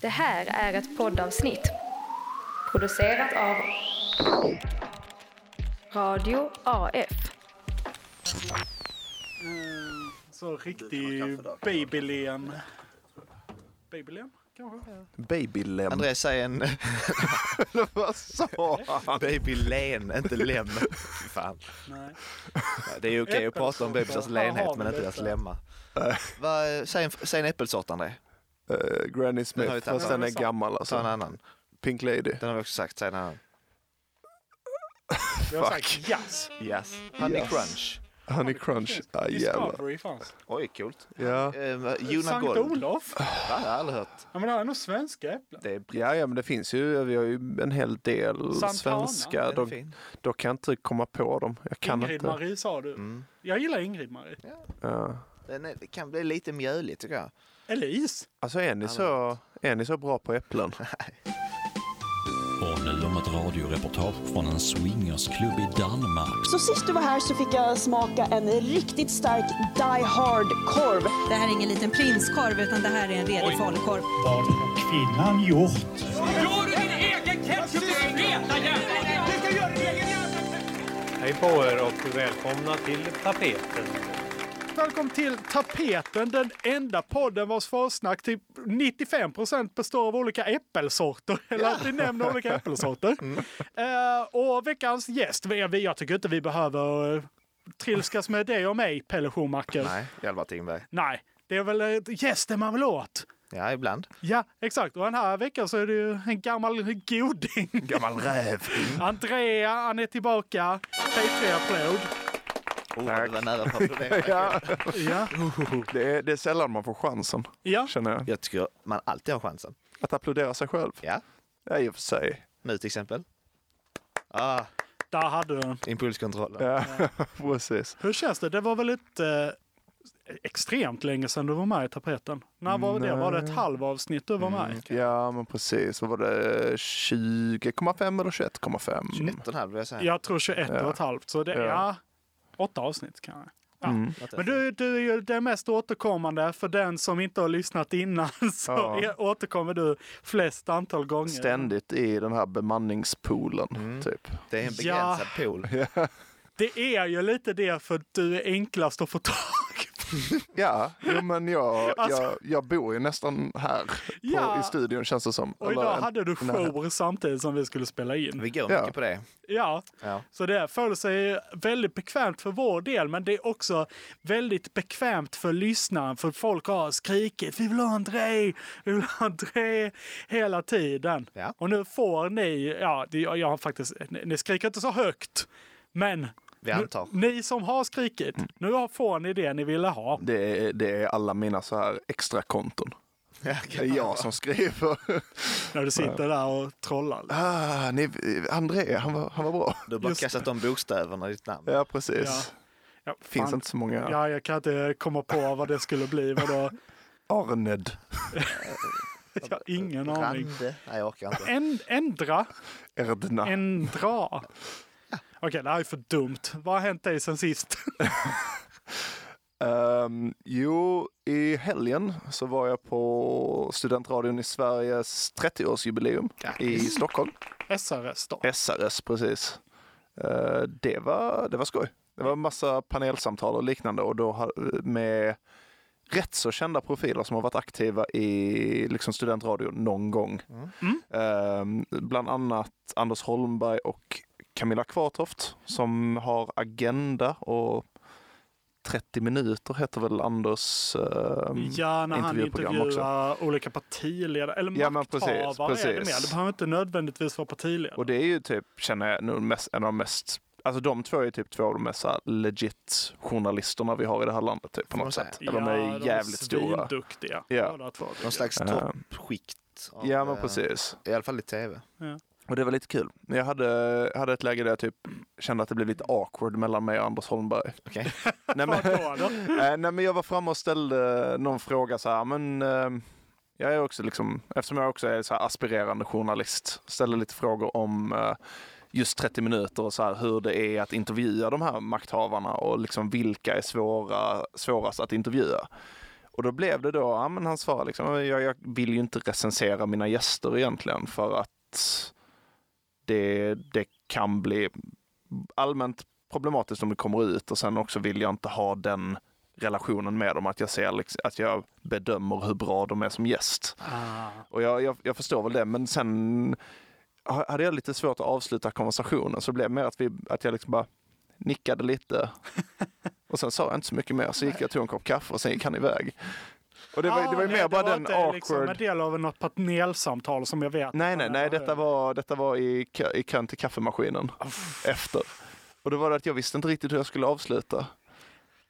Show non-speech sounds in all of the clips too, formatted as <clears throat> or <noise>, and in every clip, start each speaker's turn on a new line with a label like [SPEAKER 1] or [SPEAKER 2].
[SPEAKER 1] Det här är ett poddavsnitt producerat av Radio AF.
[SPEAKER 2] Så
[SPEAKER 3] Du
[SPEAKER 2] riktig
[SPEAKER 3] får kaffe där.
[SPEAKER 2] babylen. Babylen kanske?
[SPEAKER 3] Baby lem.
[SPEAKER 4] André säger <laughs> en...
[SPEAKER 3] vad sa han?
[SPEAKER 4] Baby len, inte <laughs> lem. Fy Fan.
[SPEAKER 2] Nej.
[SPEAKER 4] Det är ju okej att prata om bebisars
[SPEAKER 2] Äppelsorter.
[SPEAKER 4] lenhet
[SPEAKER 2] Jaha,
[SPEAKER 4] men inte
[SPEAKER 2] det är
[SPEAKER 4] deras
[SPEAKER 2] så.
[SPEAKER 4] lemma. Vad- Säg en, säg en äppelsort André.
[SPEAKER 5] Eh, Granny
[SPEAKER 4] har vi
[SPEAKER 5] Smith,
[SPEAKER 4] tagit.
[SPEAKER 5] fast den
[SPEAKER 2] Ja,
[SPEAKER 5] är
[SPEAKER 2] det är sant.
[SPEAKER 5] gammal alltså.
[SPEAKER 4] Ta en annan.
[SPEAKER 5] Pink Lady.
[SPEAKER 4] Den har vi också sagt. Säg en annan.
[SPEAKER 2] Vi har sagt jazz.
[SPEAKER 4] Yes. Honey
[SPEAKER 5] Yes.
[SPEAKER 4] crunch.
[SPEAKER 5] Honey Crunch. Ah, jävlar.
[SPEAKER 2] Discovery fanns.
[SPEAKER 4] Oj, coolt.
[SPEAKER 5] Ja.
[SPEAKER 4] Eh, Juna
[SPEAKER 2] Sankt
[SPEAKER 4] Gold.
[SPEAKER 2] Olof.
[SPEAKER 4] Va? Jag har aldrig hört.
[SPEAKER 2] Ja, men det här är nog svenska äpplen.
[SPEAKER 4] Det är britt.
[SPEAKER 5] Ja, ja, men det finns ju, vi har ju en hel del
[SPEAKER 2] Santana,
[SPEAKER 4] den
[SPEAKER 5] svenska.
[SPEAKER 4] är
[SPEAKER 5] Då,
[SPEAKER 4] fin.
[SPEAKER 5] då kan jag inte komma på dem. Jag kan inte. Mm.
[SPEAKER 2] Ingrid-Marie sa du. Jag gillar Ingrid-Marie.
[SPEAKER 5] Ja.
[SPEAKER 4] Den är, det kan bli lite mjölig tycker jag.
[SPEAKER 2] Elise.
[SPEAKER 5] Alltså är ni, så, är ni så bra på
[SPEAKER 4] <laughs>
[SPEAKER 5] äpplen?
[SPEAKER 6] Och nu om ett radioreportage från en swingersklubb i Danmark.
[SPEAKER 7] Så sist du var här så fick jag smaka en riktigt stark Die Hard-korv.
[SPEAKER 8] Det här är ingen liten prinskorv utan det här är en redig falukorv.
[SPEAKER 6] Kvinnan gjort.
[SPEAKER 9] Hej på er och välkomna till tapeten.
[SPEAKER 2] Välkommen till Tapeten, den enda podden vars försnack till 95 procent består av olika äppelsorter. Eller att vi nämner olika
[SPEAKER 5] <laughs>
[SPEAKER 2] äppelsorter.
[SPEAKER 5] Mm.
[SPEAKER 2] Eh, och veckans gäst, vi- vi- jag tycker inte vi behöver eh, trilskas med dig och mig, Pelle Schumacher.
[SPEAKER 4] Nej, Hjalmar Tingberg.
[SPEAKER 2] Nej, det är väl eh, gästen man vill åt.
[SPEAKER 4] Ja, ibland.
[SPEAKER 2] Ja, exakt. Och den här veckan så är det ju en gammal goding.
[SPEAKER 4] Gammal räv.
[SPEAKER 2] Andrea, han är tillbaka. P3-applåd.
[SPEAKER 4] Oh, det var nära på att <laughs> applådera.
[SPEAKER 5] Ja.
[SPEAKER 2] Ja.
[SPEAKER 5] Det, är, det är sällan man får chansen,
[SPEAKER 2] ja,
[SPEAKER 5] känner jag.
[SPEAKER 4] Jag tycker man alltid har chansen.
[SPEAKER 5] Att applådera sig själv.
[SPEAKER 4] Ja,
[SPEAKER 5] Ja, i och för sig.
[SPEAKER 4] nu till exempel. Ah,
[SPEAKER 2] där hade du den.
[SPEAKER 4] impulskontrollen.
[SPEAKER 5] Ja, <laughs> precis.
[SPEAKER 2] Hur känns det? Det var väl inte eh, extremt länge sedan du var med i tapeten? När var det? Var det ett halvavsnitt du var med?
[SPEAKER 5] Ja, men precis. Vad var det? 20,5 eller
[SPEAKER 2] Mm.
[SPEAKER 5] 21,5?
[SPEAKER 4] 21,5 vill jag säga.
[SPEAKER 2] Jag tror 21 och ett halvt, så det är ja. Mm. åtta avsnitt kanske. Ja. Men du, du är ju den mest återkommande. För den som inte har lyssnat innan <laughs> så
[SPEAKER 5] Ja.
[SPEAKER 2] är, återkommer du flest antal gånger.
[SPEAKER 5] Ständigt i den här bemanningspoolen,
[SPEAKER 2] Mm.
[SPEAKER 5] typ.
[SPEAKER 4] Det är en begränsad pool.
[SPEAKER 2] Det är ju lite det för att du är enklast att få tag på.
[SPEAKER 5] Ja, jo,
[SPEAKER 2] <laughs>
[SPEAKER 5] men jag,
[SPEAKER 2] Alltså-
[SPEAKER 5] jag, jag bor ju nästan här på,
[SPEAKER 2] Ja.
[SPEAKER 5] i studion känns det som.
[SPEAKER 2] Och idag
[SPEAKER 5] en-
[SPEAKER 2] hade du
[SPEAKER 5] nej.
[SPEAKER 2] show samtidigt som vi skulle spela in.
[SPEAKER 4] Vi går
[SPEAKER 5] Ja.
[SPEAKER 4] mycket
[SPEAKER 5] <laughs>
[SPEAKER 4] på det.
[SPEAKER 2] Ja,
[SPEAKER 4] Ja.
[SPEAKER 2] så det föll sig väldigt bekvämt för vår del, men det är också väldigt bekvämt för lyssnaren, för folk har skrikit vi vill ha André, vi vill ha André hela tiden.
[SPEAKER 4] Ja.
[SPEAKER 2] Och nu får ni, ja, det- jag har faktiskt, ni- ni skriker inte så högt, men
[SPEAKER 4] Vi antar. Mm.
[SPEAKER 2] Nu, ni som har skrikit, nu har- får ni det ni ville ha.
[SPEAKER 5] Det är, det är alla mina så här extra konton. Det är jag som skriver. <laughs>
[SPEAKER 2] När du sitter där och trollar.
[SPEAKER 5] Ah, ni, André, han var, han var bra.
[SPEAKER 4] Du har bara
[SPEAKER 2] Just
[SPEAKER 4] kastat om bokstäverna i ditt namn.
[SPEAKER 5] Ja,
[SPEAKER 2] Ja.
[SPEAKER 5] precis.
[SPEAKER 2] Ja,
[SPEAKER 5] Finns
[SPEAKER 2] fan.
[SPEAKER 5] inte så många.
[SPEAKER 2] Ja, jag kan inte komma på vad det skulle bli.
[SPEAKER 4] <laughs>
[SPEAKER 2] Vadå?
[SPEAKER 5] Arned.
[SPEAKER 2] Jag har ingen aning.
[SPEAKER 4] Rande. Nej, jag orkar
[SPEAKER 2] <laughs>
[SPEAKER 4] inte.
[SPEAKER 2] En, ändra,
[SPEAKER 5] Erdna.
[SPEAKER 2] ändra. Okej, det här är för dumt. Vad har hänt dig sen sist?
[SPEAKER 5] Ehm, jo, i helgen så var jag på Studentradion i Sveriges 30-årsjubileum i Stockholm.
[SPEAKER 2] SRS då?
[SPEAKER 5] SRS, precis. Eh, det, var, det var skoj. Det var en massa panelsamtal och liknande och då ha- med rätt så kända profiler som har varit aktiva i liksom studentradio någon gång. Eh, bland annat Anders Holmberg och Camilla Kvartoft som har Agenda och 30 minuter heter väl Anders eh,
[SPEAKER 2] Mm. Ja, när han
[SPEAKER 5] intervjuprogram
[SPEAKER 2] intervjuar olika partiledare. Eller
[SPEAKER 5] Ja, men
[SPEAKER 2] makthavare
[SPEAKER 5] precis,
[SPEAKER 2] är det
[SPEAKER 5] precis.
[SPEAKER 2] mer. Det behöver inte nödvändigtvis vara partiledare.
[SPEAKER 5] Och det är ju typ, känner jag, nog mest, en av de mest Alltså de två är typ två av de mest så här legit journalisterna vi har i det här landet typ, på
[SPEAKER 4] man
[SPEAKER 5] något
[SPEAKER 4] säga?
[SPEAKER 5] sätt. De är jävligt stora.
[SPEAKER 2] Duktiga.
[SPEAKER 5] Ja.
[SPEAKER 4] Någon slags toppskikt. av,
[SPEAKER 5] Ja men
[SPEAKER 4] eh,
[SPEAKER 5] precis.
[SPEAKER 4] I alla fall i tv.
[SPEAKER 5] Och det var lite kul. Men Jag hade, hade ett läge där jag typ kände att det blev lite awkward mellan mig och Anders <laughs> Holmberg.
[SPEAKER 4] Okej.
[SPEAKER 5] nej, men, <laughs> Eh, nej men jag var framme och ställde någon fråga så här, men eh, jag är också liksom, eftersom jag också är så här aspirerande journalist, ställde lite frågor om eh, just 30 minuter och så här hur det är att intervjua de här makthavarna och liksom vilka är svåra, svårast att intervjua. Och då blev det då, ja men han svarade liksom, "Ja, jag, jag vill ju inte recensera mina gäster egentligen för att det, det kan bli allmänt problematiskt om det kommer ut och sen också vill jag inte ha den relationen med dem, att jag ser liksom, att jag bedömer hur bra de är som gäst. Och jag, jag, jag förstår väl det, men sen ha- hade jag lite svårt att avsluta konversationen så det blev mer att, vi, att jag liksom bara nickade lite <laughs> och sen sa jag inte så mycket mer. Så gick jag och tog en kopp kaffe och sen gick han iväg. Och det var, Ah, det var ju mer bara den awkward...
[SPEAKER 2] Liksom en del av något panelsamtal som jag vet.
[SPEAKER 5] Nej, nej, nej. Detta var, detta var i, kö, i kön till kaffemaskinen efter. Och då var det att jag visste inte riktigt hur jag skulle avsluta.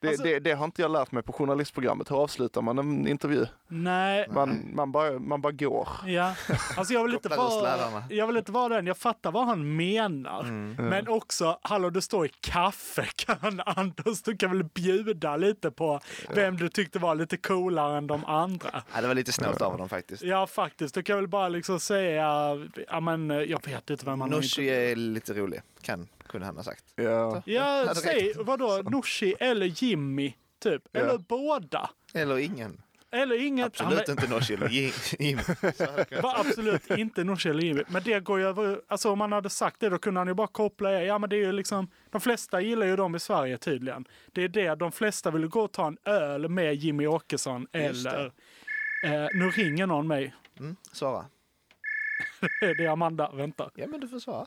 [SPEAKER 5] Det,
[SPEAKER 2] Alltså-
[SPEAKER 5] det, det har inte jag lärt mig på journalistprogrammet. Hur avslutar man en intervju?
[SPEAKER 2] Nej,
[SPEAKER 5] Man, man, bara, man bara går.
[SPEAKER 2] Ja, alltså jag vill inte
[SPEAKER 4] Kopplar loss
[SPEAKER 2] vara,
[SPEAKER 4] lärarna. Mm.
[SPEAKER 2] jag vill inte vara den. Jag fattar vad han menar. Men också, hallå du står i <laughs> kaffekön Anders, du kan väl bjuda lite på vem du tyckte var lite coolare än de andra.
[SPEAKER 4] Ja, det var lite snällt av honom faktiskt.
[SPEAKER 2] Ja faktiskt, du kan väl bara liksom säga, ja men eh, jag vet inte vem han
[SPEAKER 4] Nooshi är lite rolig, kan, kunde han ha sagt.
[SPEAKER 5] Ja.
[SPEAKER 2] Ja,
[SPEAKER 4] hade
[SPEAKER 2] säg
[SPEAKER 4] rätt.
[SPEAKER 2] vadå, Nooshi eller Jimmy, typ. Eller båda.
[SPEAKER 4] Eller ingen.
[SPEAKER 2] Eller inget.
[SPEAKER 4] Absolut
[SPEAKER 2] Ja,
[SPEAKER 4] inte Nooshi eller Jim.
[SPEAKER 5] <laughs>
[SPEAKER 4] Jim.
[SPEAKER 2] men, var absolut inte Nooshi eller Jimmy. Men det går ju över, alltså om man hade sagt det då kunde han ju bara koppla, ja men det är ju liksom, de flesta gillar ju dem i Sverige tydligen. Det är det, de flesta vill gå och ta en öl med Jimmy Åkesson eller, eh, nu ringer någon mig.
[SPEAKER 4] Mm, svara.
[SPEAKER 2] Det är Amanda, vänta.
[SPEAKER 4] Ja, men du får svara.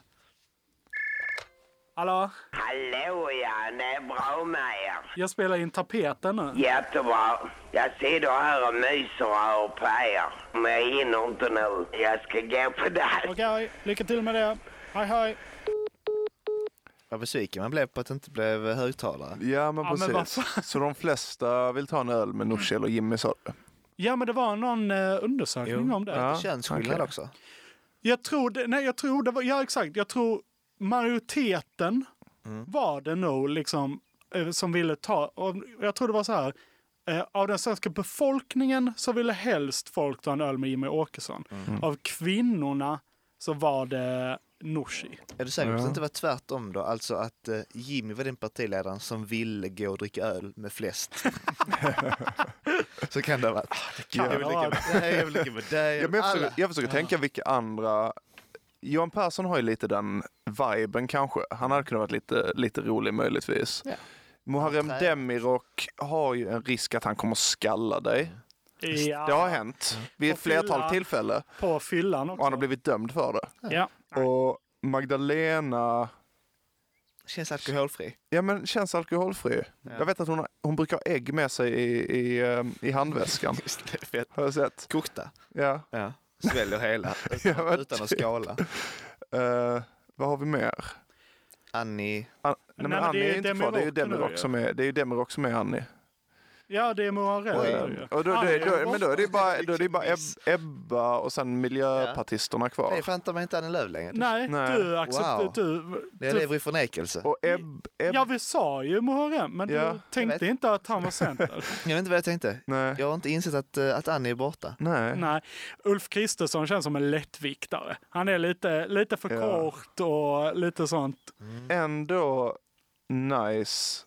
[SPEAKER 2] Hallå,
[SPEAKER 10] Hallå ja, det är bra med er.
[SPEAKER 2] jag spelar in tapeten nu.
[SPEAKER 10] Jättebra. Jag sitter här och myser och hör på er. Men jag hinner inte nu. Jag ska gå på dans.
[SPEAKER 2] Okej, lycka till med det. Hej hej.
[SPEAKER 4] Vad besviken man blev på att det inte blev högtalare.
[SPEAKER 5] Ja, men
[SPEAKER 2] Ja, men vad
[SPEAKER 5] precis.
[SPEAKER 2] fan.
[SPEAKER 5] så de flesta vill ta en öl med Nooshi eller Jimmy, sa du?
[SPEAKER 2] Ja men det var någon eh, undersökning om det.
[SPEAKER 5] Ja,
[SPEAKER 4] Könsskillnad
[SPEAKER 5] okej.
[SPEAKER 4] också.
[SPEAKER 2] Jag tror, det, nej jag tror det var, ja exakt, jag tror majoriteten
[SPEAKER 4] Mm.
[SPEAKER 2] var det nog liksom eh, som ville ta, och jag tror det var så här, eh, av den svenska befolkningen så ville helst folk ta en öl med Jimmy Åkesson.
[SPEAKER 4] Mm.
[SPEAKER 2] Av kvinnorna så var det Nooshi.
[SPEAKER 4] Är du säker på att det inte var tvärtom då? Alltså att eh, Jimmy var den partiledaren som ville gå och dricka öl med flest. <laughs> Så kan det ha varit.
[SPEAKER 2] kan
[SPEAKER 4] jag vill
[SPEAKER 2] ha
[SPEAKER 4] ligga med dig, jag vill ligga med dig.
[SPEAKER 5] Ja, men jag
[SPEAKER 4] Alla.
[SPEAKER 5] försöker, jag försöker tänka vilka andra... Johan Persson har ju lite den viben kanske. Han hade kunnat vara lite, lite rolig möjligtvis.
[SPEAKER 4] Ja.
[SPEAKER 5] Muharrem
[SPEAKER 4] Nej.
[SPEAKER 5] Demirok har ju en risk att han kommer skalla dig. Det har hänt vid
[SPEAKER 2] Och
[SPEAKER 5] ett flertal
[SPEAKER 2] fylla.
[SPEAKER 5] tillfällen.
[SPEAKER 2] På fyllan också.
[SPEAKER 5] Och han har blivit dömd för det.
[SPEAKER 2] ja.
[SPEAKER 5] Och Magdalena
[SPEAKER 4] Känns alkoholfri.
[SPEAKER 5] ja, men känns alkoholfri. Jag vet att hon, har, hon brukar ha ägg med sig i, i, eh, i handväskan.
[SPEAKER 4] Just det, fett.
[SPEAKER 5] har jag sett.
[SPEAKER 4] Kokta.
[SPEAKER 5] Ja.
[SPEAKER 4] Ja. Sväljer <laughs> hela utan,
[SPEAKER 5] Ja, men
[SPEAKER 4] utan att
[SPEAKER 5] typ.
[SPEAKER 4] skala.
[SPEAKER 5] Eh, vad har vi mer?
[SPEAKER 4] Annie,
[SPEAKER 5] An- nej, men Annie är ju inte kvar. Det är ju
[SPEAKER 2] Demirok nu ju.
[SPEAKER 5] Demirok som är, det är, ju Demirok som är Annie.
[SPEAKER 2] ja, det är Muharrem. ju.
[SPEAKER 5] Och då, då,
[SPEAKER 2] Han är
[SPEAKER 5] då, men då är det ju bara, då är det ju bara
[SPEAKER 4] Extremism.
[SPEAKER 5] Eb- Ebba och sen miljöpartisterna
[SPEAKER 4] det är
[SPEAKER 5] kvar.
[SPEAKER 4] fan ta mig inte Annie Lööf längre.
[SPEAKER 2] Nej,
[SPEAKER 5] Nej.
[SPEAKER 2] du accepterar...
[SPEAKER 4] Wow.
[SPEAKER 2] Du,
[SPEAKER 4] Jag lever i förnekelse.
[SPEAKER 5] Och Eb, Eb,
[SPEAKER 2] Ja, vi sa ju Muharrem, men
[SPEAKER 5] Ja.
[SPEAKER 2] du tänkte
[SPEAKER 4] Jag vet.
[SPEAKER 2] inte att han var center.
[SPEAKER 4] Jag vet inte vad jag tänkte.
[SPEAKER 5] Nej.
[SPEAKER 4] Jag har inte insett att, eh, att Annie är borta.
[SPEAKER 5] Nej.
[SPEAKER 2] <laughs> Nej, Ulf Kristersson känns som en lättviktare. Han är lite, lite för
[SPEAKER 5] Ja.
[SPEAKER 2] kort och lite sånt.
[SPEAKER 5] Ändå nice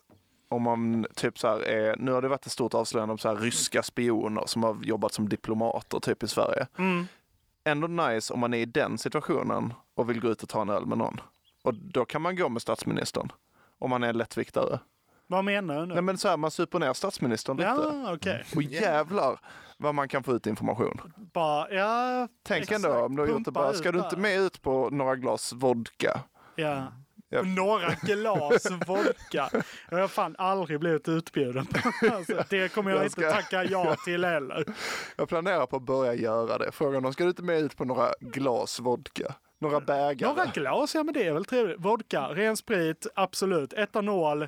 [SPEAKER 5] om man typ så här är, nu har det varit ett stort avslöjande om så här ryska spioner som har jobbat som diplomater typ i Sverige. Ändå nice om man är i den situationen och vill gå ut och ta en öl med någon. Och då kan man gå med statsministern. Om man är en lättviktare.
[SPEAKER 2] Vad menar du nu?
[SPEAKER 5] Nej Mm. men så här, man super ner statsministern lite.
[SPEAKER 2] ja, okej.
[SPEAKER 5] Och jävlar vad man kan få ut information.
[SPEAKER 2] Bara, ja,
[SPEAKER 5] Tänk
[SPEAKER 2] exakt.
[SPEAKER 5] ändå om du har gjort det
[SPEAKER 2] Pumpa
[SPEAKER 5] bara,
[SPEAKER 2] ut
[SPEAKER 5] ska du inte
[SPEAKER 2] där.
[SPEAKER 5] med ut på några glas vodka?
[SPEAKER 2] Ja.
[SPEAKER 5] Ja.
[SPEAKER 2] Och Några
[SPEAKER 5] <laughs>
[SPEAKER 2] glas vodka. Jag har fan aldrig blivit utbjuden på. <laughs> Alltså, det kommer jag,
[SPEAKER 5] Jag
[SPEAKER 2] inte
[SPEAKER 5] ska-
[SPEAKER 2] tacka
[SPEAKER 5] <laughs>
[SPEAKER 2] ja till heller.
[SPEAKER 5] Jag planerar på att börja göra det. Frågan om ska du inte med ut på några glas vodka? Några bägare?
[SPEAKER 2] Några glas, ja men det är väl trevligt. Vodka, ren sprit, absolut. Etanol,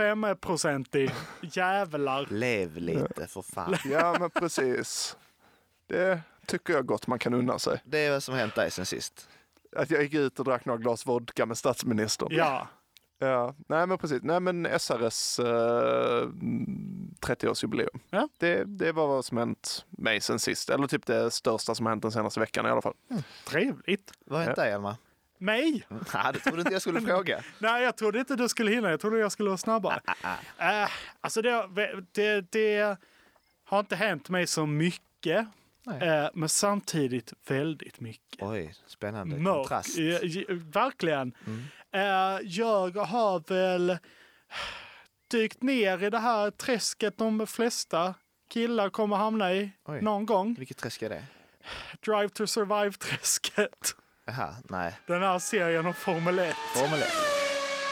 [SPEAKER 2] 95-procentig. Jävlar.
[SPEAKER 4] Lev lite för fan.
[SPEAKER 5] Ja, men precis. Det tycker jag gott man kan unna sig.
[SPEAKER 4] Det är vad som har hänt dig sen sist.
[SPEAKER 5] Att jag gick ut och drack några glas vodka med statsministern.
[SPEAKER 2] Ja.
[SPEAKER 5] Ja. Nej, men precis. Nej, men SRS eh, 30-årsjubileum.
[SPEAKER 2] Ja.
[SPEAKER 5] Det, det var vad som hänt mig sen sist. Eller typ det största som har hänt den senaste veckan i alla fall.
[SPEAKER 2] Trevligt.
[SPEAKER 4] Vad har hänt dig, Alma? <laughs>
[SPEAKER 2] Mig?
[SPEAKER 4] Nej, det trodde inte jag skulle fråga.
[SPEAKER 2] Nej, jag trodde inte
[SPEAKER 4] Ah,
[SPEAKER 2] du skulle hinna. Jag trodde jag skulle vara snabbare. Eh, alltså, det, det, det, Har inte hänt mig så mycket, eh, men samtidigt väldigt mycket.
[SPEAKER 4] Oj, spännande
[SPEAKER 2] Mörk.
[SPEAKER 4] kontrast. Mm.
[SPEAKER 2] eh, j- Verkligen. Eh, Jag har väl dykt ner i det här träsket de flesta killar kommer hamna i
[SPEAKER 4] Oj.
[SPEAKER 2] någon gång.
[SPEAKER 4] Vilket träsk är det?
[SPEAKER 2] Drive to survive-träsket.
[SPEAKER 4] Jaha, nej.
[SPEAKER 2] Den här serien om Formel 1.
[SPEAKER 4] Formel 1.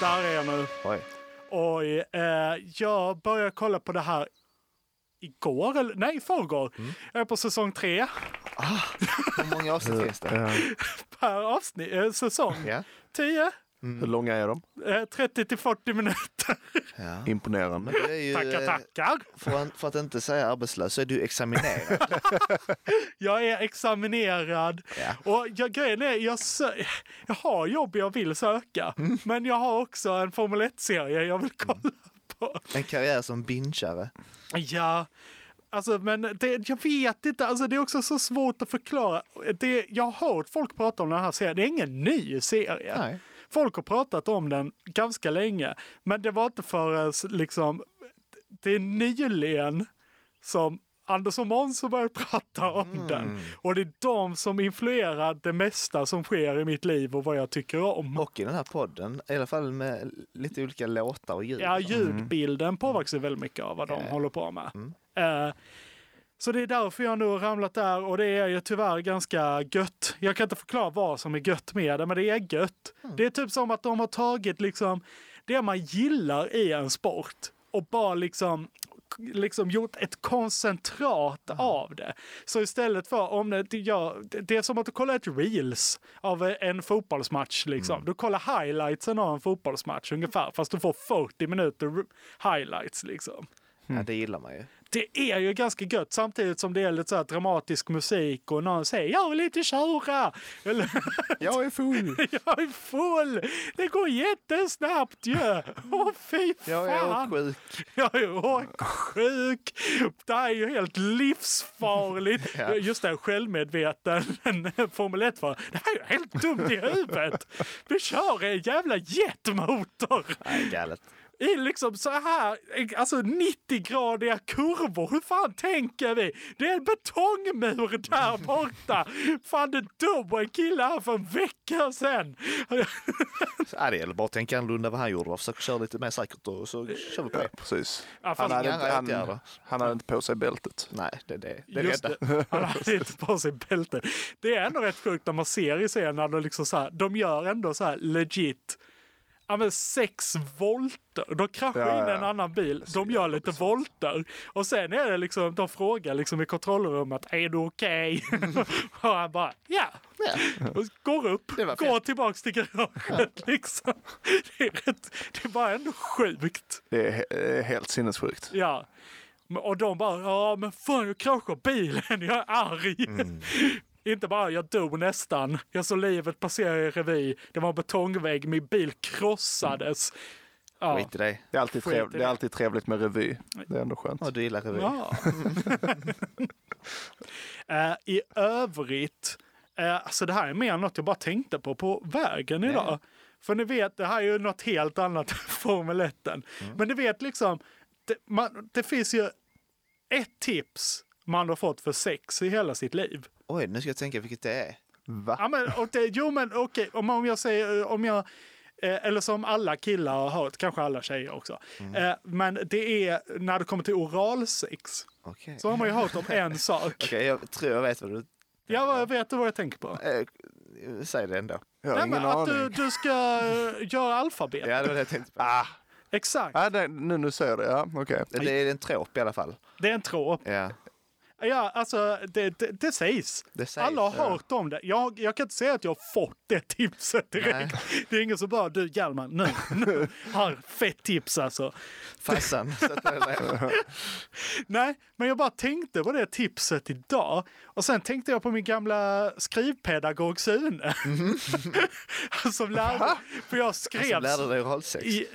[SPEAKER 2] Där är jag nu.
[SPEAKER 4] Oj.
[SPEAKER 2] Oj, eh, jag började kolla på det här igår, eller nej, i förrgår. Jag är på säsong tre
[SPEAKER 4] Hur många avsnitt
[SPEAKER 5] <laughs>
[SPEAKER 4] finns det?
[SPEAKER 2] per avsnitt, eh, säsong.
[SPEAKER 4] Ja.
[SPEAKER 2] 10,
[SPEAKER 4] Mm.
[SPEAKER 5] Hur långa är de?
[SPEAKER 2] eh, 30 till 40 minuter.
[SPEAKER 4] Ja.
[SPEAKER 5] Imponerande.
[SPEAKER 4] Men du är ju,
[SPEAKER 2] Tackar,
[SPEAKER 4] eh,
[SPEAKER 2] tackar.
[SPEAKER 4] För, en- för att inte säga arbetslös så är du examinerad.
[SPEAKER 2] Jag är examinerad. Och jag, grejen är, jag, sö- jag har jobb jag vill söka, men jag har också en Formel 1-serie jag vill kolla på.
[SPEAKER 4] En karriär som bingeare.
[SPEAKER 2] Ja, alltså men det, jag vet inte. Alltså, det är också så svårt att förklara. Det, jag har hört folk prata om den här serien. Det är ingen ny serie.
[SPEAKER 4] Nej.
[SPEAKER 2] Folk har pratat om den ganska länge, men det var inte förrän liksom, det är nyligen som Anders och Måns har börjat prata om den. Och det är de som influerar det mesta som sker i mitt liv och vad jag tycker om.
[SPEAKER 4] Och i den här podden, i alla fall med lite olika låtar och ljud.
[SPEAKER 2] Ja, ljudbilden påverkas ju väldigt mycket av vad de håller på med. Eh, så det är därför jag nu har ramlat där och det är ju tyvärr ganska gött. Jag kan inte förklara vad som är gött med det, men det är gött. Det är typ som att de har tagit liksom det man gillar i en sport och bara liksom liksom gjort ett koncentrat av det. Så istället för om det, det- ja, det- det är som att du kollar ett reels av en fotbollsmatch liksom. Du kollar highlightsen av en fotbollsmatch ungefär, fast du får 40 minuter r- highlights liksom.
[SPEAKER 4] Ja, det gillar man ju.
[SPEAKER 2] Det är ju ganska gött samtidigt som det är lite så här dramatisk musik och någon säger jag vill inte köra. Eller <laughs>
[SPEAKER 5] Jag är full!
[SPEAKER 2] jag är full. Det går jättesnabbt ju. Åh fy fan.
[SPEAKER 4] Jag är sjuk.
[SPEAKER 2] Jag är åksjuk. Det här är ju helt livsfarligt. Just det, självmedveten <laughs> en Formel 1 -förare. Det här är ju helt dumt i huvudet. Vi kör en jävla jetmotor
[SPEAKER 4] Nej, galet.
[SPEAKER 2] i liksom så här, alltså 90-gradiga kurvor. Hur fan tänker vi? Det är en betongmur där borta. Fan, det dog en kille här för en vecka sedan.
[SPEAKER 4] Ja, det gäller bara att tänka annorlunda vad han gjorde. Bara försök köra lite mer säkert och så kör vi på det.
[SPEAKER 5] Precis.
[SPEAKER 2] Ja, fast
[SPEAKER 5] han, hade
[SPEAKER 4] inga
[SPEAKER 5] inte, han,
[SPEAKER 4] åtgärder.
[SPEAKER 5] han hade inte på sig bältet.
[SPEAKER 4] Nej, det, det, det
[SPEAKER 2] Just
[SPEAKER 4] räddar.
[SPEAKER 2] det. Han hade inte på sig bälte. Det är ändå rätt sjukt när man ser i scenen. Och liksom så här, de gör ändå så här legit ja, men sex volter. De kraschar
[SPEAKER 5] Ja,
[SPEAKER 2] in
[SPEAKER 5] ja.
[SPEAKER 2] en annan bil. De gör lite volter. Och sen är det liksom, de frågar liksom i kontrollrummet, är du okej? och han bara, ja. Och går upp,
[SPEAKER 4] Det var
[SPEAKER 2] går tillbaks till garaget <laughs> liksom. Det är, rätt, det är bara ändå sjukt.
[SPEAKER 5] Det är he- eh, helt sinnessjukt.
[SPEAKER 2] Ja. Men- Och de bara, ja men fan jag kraschar bilen, <laughs> jag är arg. <laughs> Inte bara jag dog nästan, jag såg livet passera i revy, det var en betongvägg, min bil krossades. Ja.
[SPEAKER 4] Skit i dig.
[SPEAKER 5] Det är, alltid
[SPEAKER 2] Skit i
[SPEAKER 5] trev, det
[SPEAKER 2] det.
[SPEAKER 5] är alltid trevligt med revy. Det är ändå skönt.
[SPEAKER 4] Ja, du gillar revy.
[SPEAKER 2] Ja. <laughs> Eh, I övrigt, eh, alltså det här är mer något jag bara tänkte på på vägen idag. För ni vet, det här är ju något helt annat än <laughs> Formel 1. Men ni vet liksom, det, man, det finns ju ett tips man har fått för sex i hela sitt liv.
[SPEAKER 4] Oj, nu ska jag tänka vilket det är.
[SPEAKER 2] Ja, men, och det, jo men okej, om, om jag säger, eh, om jag, eh, eller som alla killar har hört, kanske alla tjejer också. Eh, men det är när det kommer till oralsex.
[SPEAKER 4] <laughs> Okej.
[SPEAKER 2] Så har man ju hört om en sak.
[SPEAKER 4] Okej, jag tror jag vet vad du...
[SPEAKER 2] Ja, jag vet vad jag tänker på.
[SPEAKER 4] Eh, säg det ändå.
[SPEAKER 5] Jag har
[SPEAKER 2] Nej,
[SPEAKER 5] ingen
[SPEAKER 2] men att
[SPEAKER 5] aning.
[SPEAKER 2] du, du ska eh, göra alfabet.
[SPEAKER 4] Ja, det var det jag tänkte på.
[SPEAKER 2] Exakt,
[SPEAKER 5] Ah, det, nu, nu säger jag det. Ja, okej.
[SPEAKER 4] Det är en trop i alla fall.
[SPEAKER 2] det är en trop.
[SPEAKER 4] Ja.
[SPEAKER 2] Ja, alltså det, det, det, sägs.
[SPEAKER 4] Det sägs,
[SPEAKER 2] Alla har
[SPEAKER 4] ja.
[SPEAKER 2] hört om det. Jag, jag kan inte säga att jag har fått det tipset direkt. Det är ingen som bara, du Hjalmar, nu,
[SPEAKER 4] <laughs>
[SPEAKER 2] nu har fett tips alltså.
[SPEAKER 4] Fassan. sätt dig ner.
[SPEAKER 2] Nej, men jag bara tänkte på det tipset idag. Och sen tänkte jag på min gamla skrivpedagog Sune. <laughs> som lärde, för jag skrev...
[SPEAKER 4] Mhm. Som lärde dig oralsex.
[SPEAKER 2] I,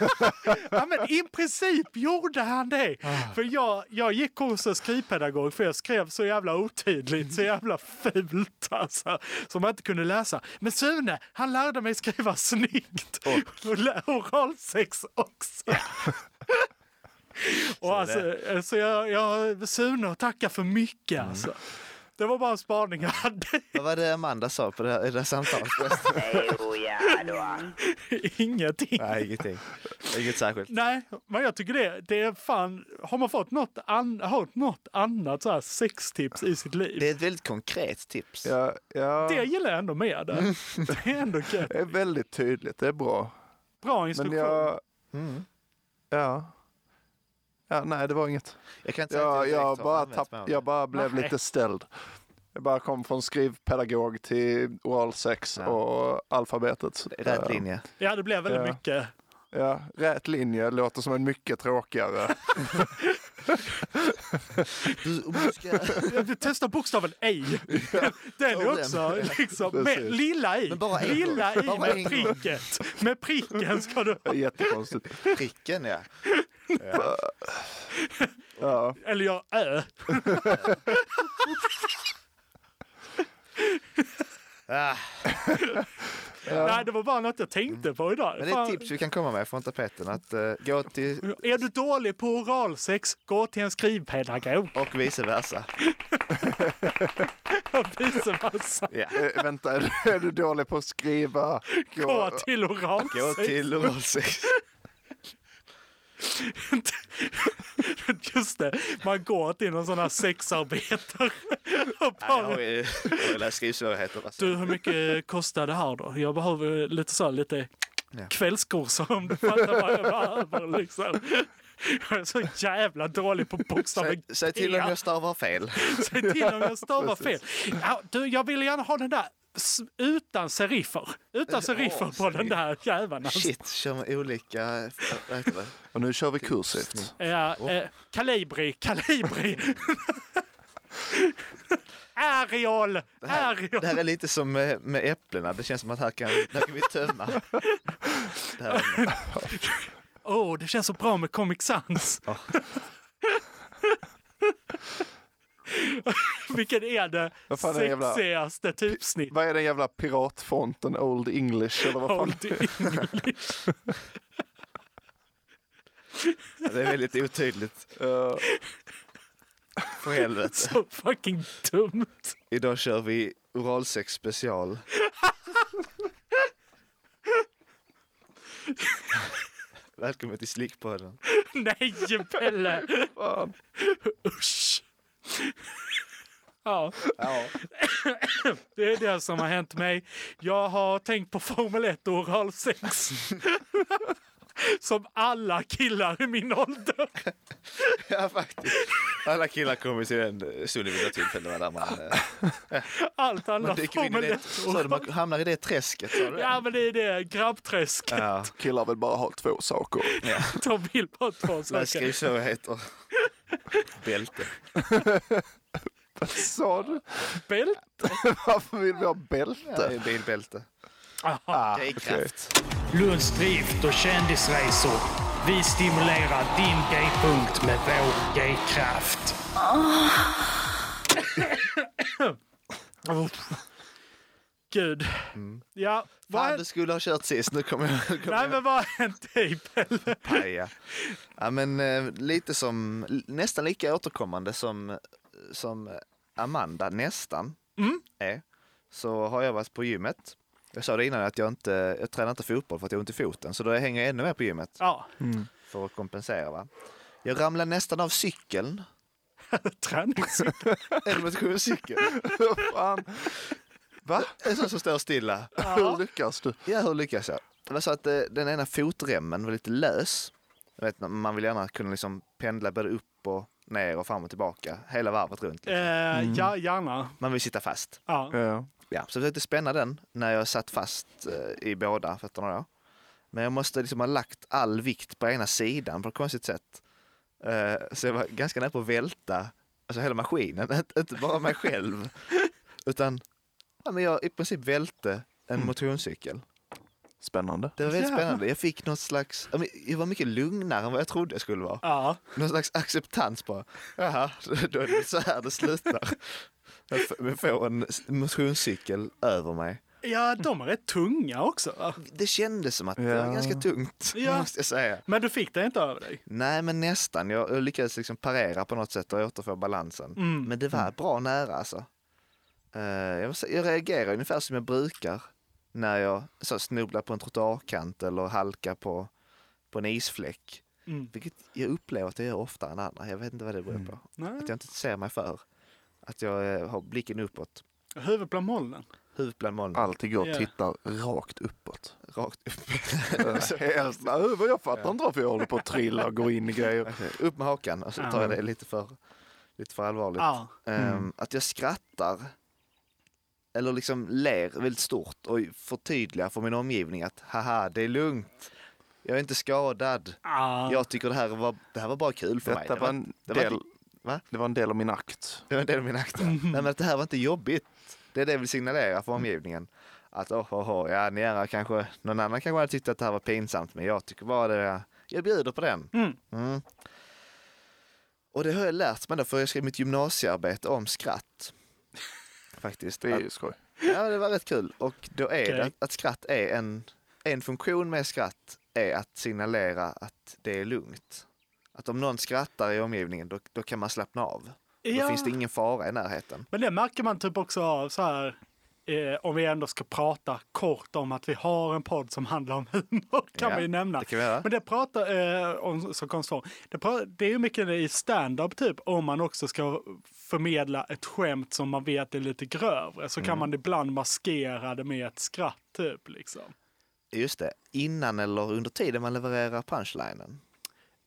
[SPEAKER 2] <laughs> ja, men I princip gjorde han det. För jag, jag gick kursen skrivpedagog för jag skrev så jävla otydligt, så jävla fult alltså. Som man inte kunde läsa. Men Sune, han lärde mig skriva snyggt. Och, och lä- oralsex också. Och alltså, så jag, jag sunar och tackar för mycket alltså. Det var bara en spaning jag hade. <laughs>
[SPEAKER 4] Vad var det Amanda sa på det här, i det här samtalet?
[SPEAKER 10] Jo, ja då.
[SPEAKER 2] Ingenting.
[SPEAKER 4] <laughs> Nej, ingenting. Inget särskilt.
[SPEAKER 2] Nej, men jag tycker det, det är fan, har man fått något, an, har något annat så här sextips i sitt liv?
[SPEAKER 4] Det
[SPEAKER 2] Det,
[SPEAKER 4] är ett väldigt konkret tips.
[SPEAKER 5] Ja, ja,
[SPEAKER 2] gillar jag ändå med
[SPEAKER 4] <laughs>
[SPEAKER 2] det. Det är ändå gött.
[SPEAKER 5] det är väldigt tydligt. Det är bra.
[SPEAKER 2] Bra
[SPEAKER 5] Men
[SPEAKER 2] instruktion.
[SPEAKER 5] jag...
[SPEAKER 4] Mm.
[SPEAKER 5] Ja. ja. Nej, det var inget.
[SPEAKER 4] Jag kan inte säga
[SPEAKER 5] Jag,
[SPEAKER 4] att jag,
[SPEAKER 5] jag,
[SPEAKER 4] direkt har
[SPEAKER 5] bara,
[SPEAKER 4] använt
[SPEAKER 5] tapp,
[SPEAKER 4] mig av
[SPEAKER 5] jag bara blev
[SPEAKER 2] Nej.
[SPEAKER 5] lite ställd. Jag bara kom från skrivpedagog till oralsex och alfabetet.
[SPEAKER 4] det. Rätt <laughs> linje.
[SPEAKER 2] Ja, det blev väldigt
[SPEAKER 5] Ja.
[SPEAKER 2] mycket.
[SPEAKER 5] Ja, rät linje låter som en mycket tråkigare.
[SPEAKER 4] Du, om du ska... <laughs>
[SPEAKER 2] Jag vill testa bokstaven ej. Den är
[SPEAKER 4] Och den.
[SPEAKER 2] också liksom, med,
[SPEAKER 5] Precis.
[SPEAKER 2] lilla i.
[SPEAKER 4] Men bara en
[SPEAKER 2] Lilla
[SPEAKER 4] gång.
[SPEAKER 2] i
[SPEAKER 4] Bara
[SPEAKER 2] med
[SPEAKER 4] en gång.
[SPEAKER 2] pricket. Med pricken ska du ha. <laughs>
[SPEAKER 5] Jättekonstigt.
[SPEAKER 4] Pricken, ja.
[SPEAKER 5] Ja.
[SPEAKER 2] Eller jag ö.
[SPEAKER 4] Ah,
[SPEAKER 2] Nej, det var bara något jag tänkte på idag.
[SPEAKER 4] men det är ett
[SPEAKER 2] Fan.
[SPEAKER 4] tips vi kan komma med från tapeten. Att eh, gå till
[SPEAKER 2] Är du dålig på oralsex, gå till en <laughs> skrivpedagog.
[SPEAKER 4] och vice versa.
[SPEAKER 2] Och vice versa.
[SPEAKER 4] Ja.
[SPEAKER 5] Eh, vänta, är du, är du dålig på att skriva?
[SPEAKER 2] Gå
[SPEAKER 5] Gå,
[SPEAKER 2] till
[SPEAKER 4] Gå
[SPEAKER 2] oralsex.
[SPEAKER 4] till oralsex.
[SPEAKER 2] <laughs> Just det, man går till någon sån här
[SPEAKER 4] <laughs>
[SPEAKER 2] sexarbetare. Och
[SPEAKER 4] Nej, Jag har
[SPEAKER 2] bara,
[SPEAKER 4] ju jag har ju läst skrivsvårigheter. Alltså.
[SPEAKER 2] du, hur mycket kostar det här då? Jag behöver lite så här, lite
[SPEAKER 4] Ja.
[SPEAKER 2] kvällskurser om du fattar vad jag behöver liksom. Jag är så jävla dålig på bokstaven
[SPEAKER 4] Säg, säg till om
[SPEAKER 2] G.
[SPEAKER 4] jag
[SPEAKER 2] <laughs>
[SPEAKER 4] stavar fel.
[SPEAKER 2] Säg till om jag
[SPEAKER 4] <laughs>
[SPEAKER 2] stavar fel. Ja, du, jag vill gärna ha den där s- utan seriffer. Utan seriffer på den där jäveln. alltså.
[SPEAKER 4] Shit, kör med olika... Vad heter det?
[SPEAKER 5] och nu kör vi
[SPEAKER 4] Typ
[SPEAKER 5] kursivt.
[SPEAKER 2] Ja, eh, kalibri, kalibri. <laughs> Ariol, Ariol.
[SPEAKER 4] Det här är lite som med, med äpplena. Det känns som att här kan, här kan vi tömma. Det här ämnet.
[SPEAKER 2] Åh, det känns så bra med Comic Sans. <laughs> Vilken är det
[SPEAKER 5] Vad fan är det jävla-
[SPEAKER 2] sexigaste
[SPEAKER 4] Typ
[SPEAKER 2] typsnitt?
[SPEAKER 5] Vad är den jävla piratfonten? Old English eller vad fan?
[SPEAKER 2] Old English.
[SPEAKER 4] det är väldigt otydligt.
[SPEAKER 5] Eh,
[SPEAKER 4] För helvete.
[SPEAKER 2] Så fucking dumt.
[SPEAKER 4] Idag kör vi oralsex special. Välkommen till Slickpodden.
[SPEAKER 2] <laughs> Nej, Pelle! Usch! Ja. det är det som har hänt mig. Jag har tänkt på Formel 1 och oralsex. <laughs> Som alla killar i min ålder.
[SPEAKER 4] Ja, faktiskt. Alla killar kommer till den stunden vid något tillfälle där man, eh,
[SPEAKER 2] Allt
[SPEAKER 4] man
[SPEAKER 2] annat
[SPEAKER 4] dyker in i
[SPEAKER 2] Formel
[SPEAKER 4] det.
[SPEAKER 2] 1
[SPEAKER 4] Så
[SPEAKER 2] och...
[SPEAKER 4] man hamnar i det träsket. sa du det?
[SPEAKER 2] Ja men det är det, grabbträsk.
[SPEAKER 4] Ja.
[SPEAKER 5] killar vill bara ha två saker.
[SPEAKER 2] De vill bara två
[SPEAKER 4] Läs
[SPEAKER 2] saker.
[SPEAKER 4] skrivsvårigheter. Bälte.
[SPEAKER 5] Sa du?
[SPEAKER 2] Bält.
[SPEAKER 5] Varför vill vi ha
[SPEAKER 4] Det är
[SPEAKER 5] bälte?
[SPEAKER 4] bilbälte. Ah, Drivkraft.
[SPEAKER 9] Lunds drift och kändisresor. Vi stimulerar din G-punkt med vår G-kraft.
[SPEAKER 2] <coughs> Gud. Ja,
[SPEAKER 4] Mm. Fan, du
[SPEAKER 2] vad...
[SPEAKER 4] skulle ha kört sist. Nu kommer jag... Nu kommer
[SPEAKER 2] Nej
[SPEAKER 4] jag
[SPEAKER 2] men vad typ? har hänt dig
[SPEAKER 4] <laughs>
[SPEAKER 2] Pelle?
[SPEAKER 4] paja. Ja, men eh, lite som, nästan lika återkommande som, som Amanda, nästan, är. Så har jag varit på gymmet. Jag sa det innan att jag inte, jag tränar inte fotboll för att jag har ont i foten. Så då hänger jag ännu mer på gymmet
[SPEAKER 2] Ja,
[SPEAKER 4] för att kompensera. Va? Jag ramlade nästan av cykeln. <laughs>
[SPEAKER 2] träningscykel.
[SPEAKER 4] En motionscykel.
[SPEAKER 5] Fan. Va?
[SPEAKER 4] En sån som står stilla.
[SPEAKER 5] <laughs> Hur lyckas du?
[SPEAKER 4] Ja, hur lyckas jag? Det var så att eh, den ena fotremmen var lite lös. Jag vet, man vill gärna kunna liksom pendla både upp och ner och fram och tillbaka hela varvet runt. Liksom.
[SPEAKER 2] Eh, Ja, gärna.
[SPEAKER 4] Man vill sitta fast.
[SPEAKER 2] Ja.
[SPEAKER 5] Ja.
[SPEAKER 4] Ja. Så jag försökte spänna den när jag satt fast eh, i båda fötterna. Då. Men jag måste liksom ha lagt all vikt på ena sidan på ett konstigt sätt. Eh, så jag var ganska nära på att välta alltså hela maskinen, <laughs> inte- inte bara mig själv. Utan ja, men jag i princip välte en motionscykel.
[SPEAKER 5] Spännande.
[SPEAKER 4] Det var väldigt spännande. Jag fick något slags, ja, men jag var mycket lugnare än vad jag trodde jag skulle vara.
[SPEAKER 2] Ja.
[SPEAKER 4] Någon slags acceptans bara. Jaha, då är det så här det slutar. Men få en motionscykel över mig.
[SPEAKER 2] Ja, de är rätt tunga också. va?
[SPEAKER 4] Det kändes som att det var
[SPEAKER 5] Ja.
[SPEAKER 4] ganska tungt, <laughs>
[SPEAKER 2] Ja.
[SPEAKER 4] måste jag säga.
[SPEAKER 2] Men du fick det inte över dig.
[SPEAKER 4] Nej, men nästan. Jag jag lyckades liksom parera på något sätt och återfå balansen.
[SPEAKER 2] Mm.
[SPEAKER 4] Men det var bra nära alltså. Eh, jag, vill säga- jag reagerar ungefär som jag brukar när jag så, snubblar på en trottoarkant eller halkar på, på en isfläck.
[SPEAKER 2] Mm.
[SPEAKER 4] Vilket jag upplever att jag gör oftare än andra. Jag vet inte vad det beror på.
[SPEAKER 2] Nej.
[SPEAKER 4] Att jag inte ser mig för. Att jag eh, har blicken uppåt,
[SPEAKER 2] Huvudet bland molnen.
[SPEAKER 4] huvudet bland molnen,
[SPEAKER 5] Alltid går och
[SPEAKER 2] Ja.
[SPEAKER 5] tittar rakt uppåt.
[SPEAKER 4] rakt upp.
[SPEAKER 5] <laughs> Helt, nej, vad jag fattar inte varför jag håller på att trilla och gå in i
[SPEAKER 4] <laughs>
[SPEAKER 5] grejer.
[SPEAKER 4] upp med hakan och så tar jag det lite för, lite för allvarligt.
[SPEAKER 2] Ja.
[SPEAKER 4] Ehm,
[SPEAKER 5] Mm.
[SPEAKER 4] Att jag skrattar eller liksom ler väldigt stort och förtydligar för min omgivning att haha, det är lugnt. Jag är inte skadad.
[SPEAKER 2] Ah.
[SPEAKER 4] Jag tycker det här var, det här var bara kul för mig.
[SPEAKER 5] Detta
[SPEAKER 4] Det
[SPEAKER 5] var en
[SPEAKER 4] det var,
[SPEAKER 5] del,
[SPEAKER 4] inte- va?
[SPEAKER 5] det var en del av min akt.
[SPEAKER 4] det var en del av min akt. Nej, men att det här var inte jobbigt. Det är det jag vill signalera för omgivningen. Att oh, oh, oh, ja, ni andra kanske, någon annan kanske hade tyckt att det här var pinsamt, men jag tycker bara det, jag bjuder på den.
[SPEAKER 2] Mm.
[SPEAKER 4] Mm. Och det har jag lärt mig då, för jag skrev mitt gymnasiearbete om skratt. <laughs> Faktiskt.
[SPEAKER 5] Det är
[SPEAKER 4] Att-
[SPEAKER 5] ju skoj.
[SPEAKER 4] Ja, det var rätt kul. Och då är det
[SPEAKER 2] Okej.
[SPEAKER 4] att, att skratt är en... En funktion med skratt är att signalera att det är lugnt. Att om någon skrattar i omgivningen, då, då kan man slappna av. Då
[SPEAKER 2] Ja.
[SPEAKER 4] finns det ingen fara i närheten.
[SPEAKER 2] Men det märker man typ också av så här, eh, om vi ändå ska prata kort om att vi har en podd som handlar om <laughs> humor, kan
[SPEAKER 4] Ja,
[SPEAKER 2] vi nämna.
[SPEAKER 4] det kan vi göra.
[SPEAKER 2] Men det pratar eh, om, som konstform, det, pra- det är ju mycket i stand-up typ, om man också ska förmedla ett skämt som man vet är lite grövre, så
[SPEAKER 4] Mm.
[SPEAKER 2] kan man ibland maskera det med ett skratt typ liksom.
[SPEAKER 4] Just det, innan eller under tiden man levererar punchlinen.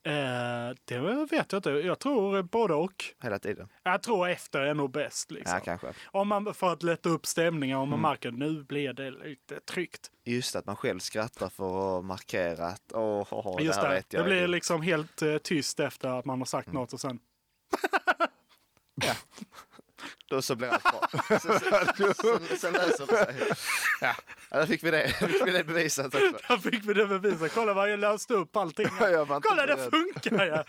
[SPEAKER 2] Eh, det vet jag inte, jag tror både och.
[SPEAKER 4] Hela tiden.
[SPEAKER 2] Jag tror efter är nog bäst liksom.
[SPEAKER 4] Ja, kanske. Mm.
[SPEAKER 2] Om man, för att lätta upp stämningen, om man märker nu blir det lite tryckt.
[SPEAKER 4] Just att man själv skrattar för att markera att åh, åh, åh,
[SPEAKER 2] Just
[SPEAKER 4] det här
[SPEAKER 2] det,
[SPEAKER 4] vet jag.
[SPEAKER 2] det blir
[SPEAKER 4] är-
[SPEAKER 2] liksom helt eh, tyst efter att man har sagt
[SPEAKER 5] Mm.
[SPEAKER 2] något och sen... <laughs>
[SPEAKER 4] Då så blir allt bra. Sen, sen, sen, sen löser det sig. Ja, där fick vi det, fick vi det bevisat också.
[SPEAKER 2] Där fick vi det beviset. Kolla vad jag löste upp allting.
[SPEAKER 5] <laughs> Jag var inte
[SPEAKER 2] Kolla det
[SPEAKER 5] beredd.
[SPEAKER 2] funkar ja.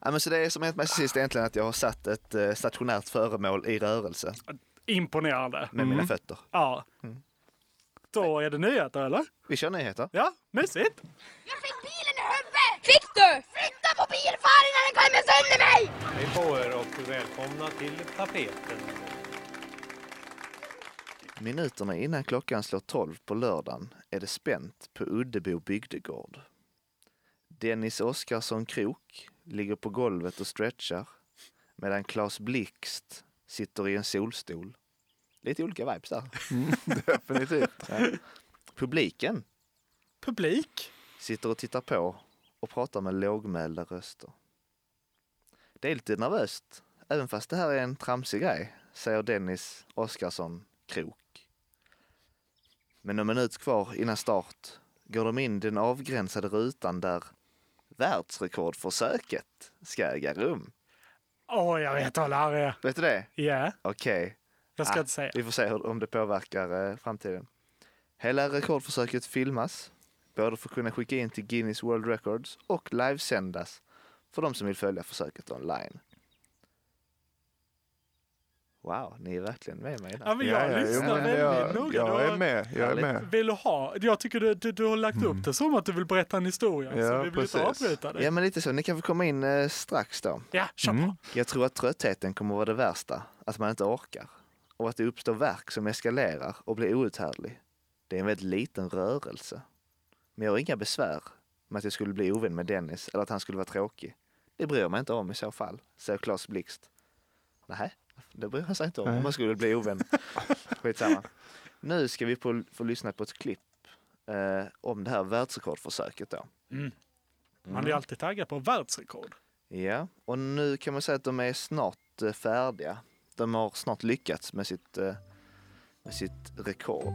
[SPEAKER 4] Ja, men så det som hänt mig sist är egentligen att jag har satt ett eh, stationärt föremål i rörelse
[SPEAKER 5] <laughs>
[SPEAKER 2] Imponerande.
[SPEAKER 5] Mm.
[SPEAKER 4] med mina fötter.
[SPEAKER 2] Ja. Då är det nyheter eller?
[SPEAKER 4] Vi kör nyheter.
[SPEAKER 2] Ja, mysigt.
[SPEAKER 7] Jag fick bilen i huvudet! Fick du? Flytta på bilfaren när den kommer sönder mig!
[SPEAKER 9] Hej på er och välkomna till tapeten.
[SPEAKER 4] Minuterna innan klockan slår 12 på lördagen är det spänt på Uddebo bygdegård. Dennis Oskarsson Krok ligger på golvet och stretchar medan Claes Blixt sitter i en solstol. Lite olika vibes där. <laughs>
[SPEAKER 5] Definitivt.
[SPEAKER 4] Publiken
[SPEAKER 2] Publik.
[SPEAKER 4] sitter och tittar på och pratar med lågmälda röster. Det är lite nervöst, även fast det här är en tramsig grej, säger Dennis Oskarsson Krok. Men en minut kvar innan start går de in den avgränsade rutan där världsrekordförsöket ska äga rum.
[SPEAKER 2] Åh, jag vet vad det här är.
[SPEAKER 4] Vet du det?
[SPEAKER 2] Ja,
[SPEAKER 4] Okej.
[SPEAKER 2] jag ska
[SPEAKER 4] Ah,
[SPEAKER 2] inte säga.
[SPEAKER 4] Vi får se hur, om det påverkar eh, framtiden. Hela rekordförsöket filmas, både för att kunna skicka in till Guinness World Records och livesändas för de som vill följa försöket online. Wow, ni är verkligen med mig
[SPEAKER 2] Ja,
[SPEAKER 4] där.
[SPEAKER 2] men jag
[SPEAKER 5] Ja, ja, jo,
[SPEAKER 2] lyssnar
[SPEAKER 5] men
[SPEAKER 2] väldigt
[SPEAKER 5] jag-
[SPEAKER 2] noga. Du
[SPEAKER 5] Jag
[SPEAKER 2] har-
[SPEAKER 5] är med. Jag är
[SPEAKER 4] Härligt.
[SPEAKER 5] med. Mm.
[SPEAKER 2] Vill du ha? Jag tycker du, du, du har lagt upp det som att du vill berätta en historia. så
[SPEAKER 5] Ja,
[SPEAKER 2] vi vill inte
[SPEAKER 5] precis.
[SPEAKER 2] avbryta dig.
[SPEAKER 4] Ja, men lite så. Ni kan få komma in eh, strax då.
[SPEAKER 2] Ja, kör
[SPEAKER 5] Mm.
[SPEAKER 2] på.
[SPEAKER 4] Jag tror att tröttheten kommer vara det värsta, att man inte orkar. Och att det uppstår verk som eskalerar och blir outhärdlig. Det är en väldigt liten rörelse. Men jag har inga besvär med att jag skulle bli ovän med Dennis eller att han skulle vara tråkig. Det bryr jag mig inte om i så fall, säger Claes Blixt. Nej, det bryr han sig inte om om man skulle bli ovän. Skitsamma. Nu ska vi på, få lyssna på ett klipp eh, om det här världsrekordförsöket då.
[SPEAKER 2] Man är ju alltid taggad på världsrekord.
[SPEAKER 4] Ja, och nu kan man säga att de är snart eh, färdiga. De har snart lyckats med sitt, eh, med sitt rekord.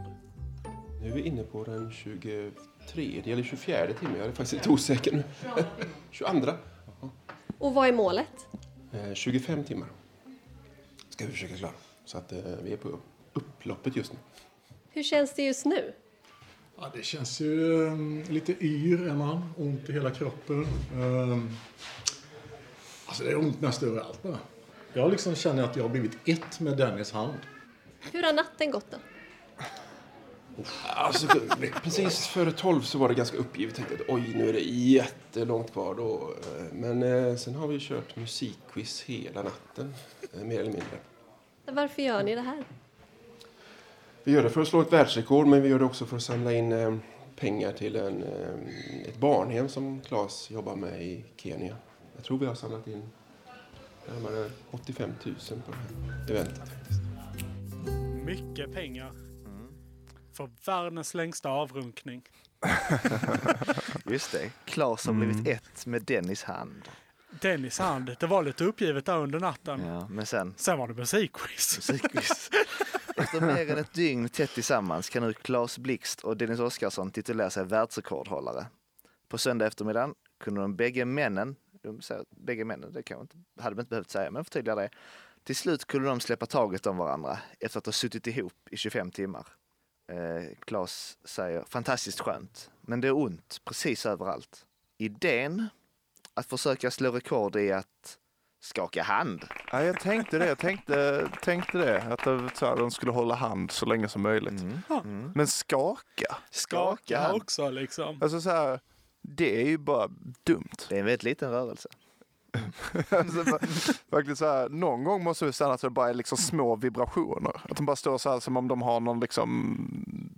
[SPEAKER 9] Nu är vi inne på den 23 eller 24 timmen. Jag är faktiskt lite osäker nu. <laughs> 22.
[SPEAKER 7] Och vad är målet?
[SPEAKER 9] Eh, 25 timmar. Ska vi försöka klara. Så att eh, vi är på upploppet just nu.
[SPEAKER 7] Hur känns det just nu?
[SPEAKER 11] Ja, det känns ju eh, lite yr är man. Ont i hela kroppen. Eh, alltså det är ont nästan överallt bara. Jag liksom känner att jag har blivit ett med Dennis hand.
[SPEAKER 7] Hur har natten gått då?
[SPEAKER 12] Alltså, för- precis före tolv så var det ganska uppgivet. Jag tänkte att oj, nu är det jättelångt kvar då. Eh, Men eh, sen har vi ju kört musikquiz hela natten, eh, mer eller mindre.
[SPEAKER 13] Varför gör ni det här?
[SPEAKER 12] Vi gör det för att slå ett världsrekord, men vi gör det också för att samla in eh, pengar till en, eh, ett barnhem som Claes jobbar med i Kenya. Jag tror vi har samlat in närmare 85 000 på det här eventet.
[SPEAKER 2] Mycket pengar. För världens längsta avrunkning.
[SPEAKER 4] Just det. Mm. Klas har blivit ett med Dennis hand.
[SPEAKER 2] Dennis hand, det var lite uppgivet där under natten.
[SPEAKER 4] Ja, men sen...
[SPEAKER 2] Sen var det musikquiz.
[SPEAKER 4] musikquiz. <laughs> Efter mer än ett dygn tätt tillsammans kan nu Claes Blixt och Dennis Oskarsson titulera sig världsrekordhållare. På söndag eftermiddag kunde de bägge männen, de säger, bägge männen, det kan jag inte, hade man inte behövt säga, men förtydliga det. Till slut kunde de släppa taget om varandra efter att ha suttit ihop i 25 timmar. Eh, Claes säger fantastiskt skönt, men det är ont precis överallt. Idén att försöka slå rekord i att skaka hand.
[SPEAKER 5] Ja, jag tänkte det. Jag tänkte, tänkte det. Att det- så här, de skulle hålla hand så länge som möjligt. Men skaka?
[SPEAKER 2] Skaka
[SPEAKER 5] hand.
[SPEAKER 2] också liksom.
[SPEAKER 5] Alltså så här, det är ju bara dumt.
[SPEAKER 4] Det är en väldigt liten rörelse.
[SPEAKER 5] alltså, bara- verkligen så här, någon gång måste vi stanna så det bara är liksom små vibrationer. Att de bara står så här som om de har någon liksom...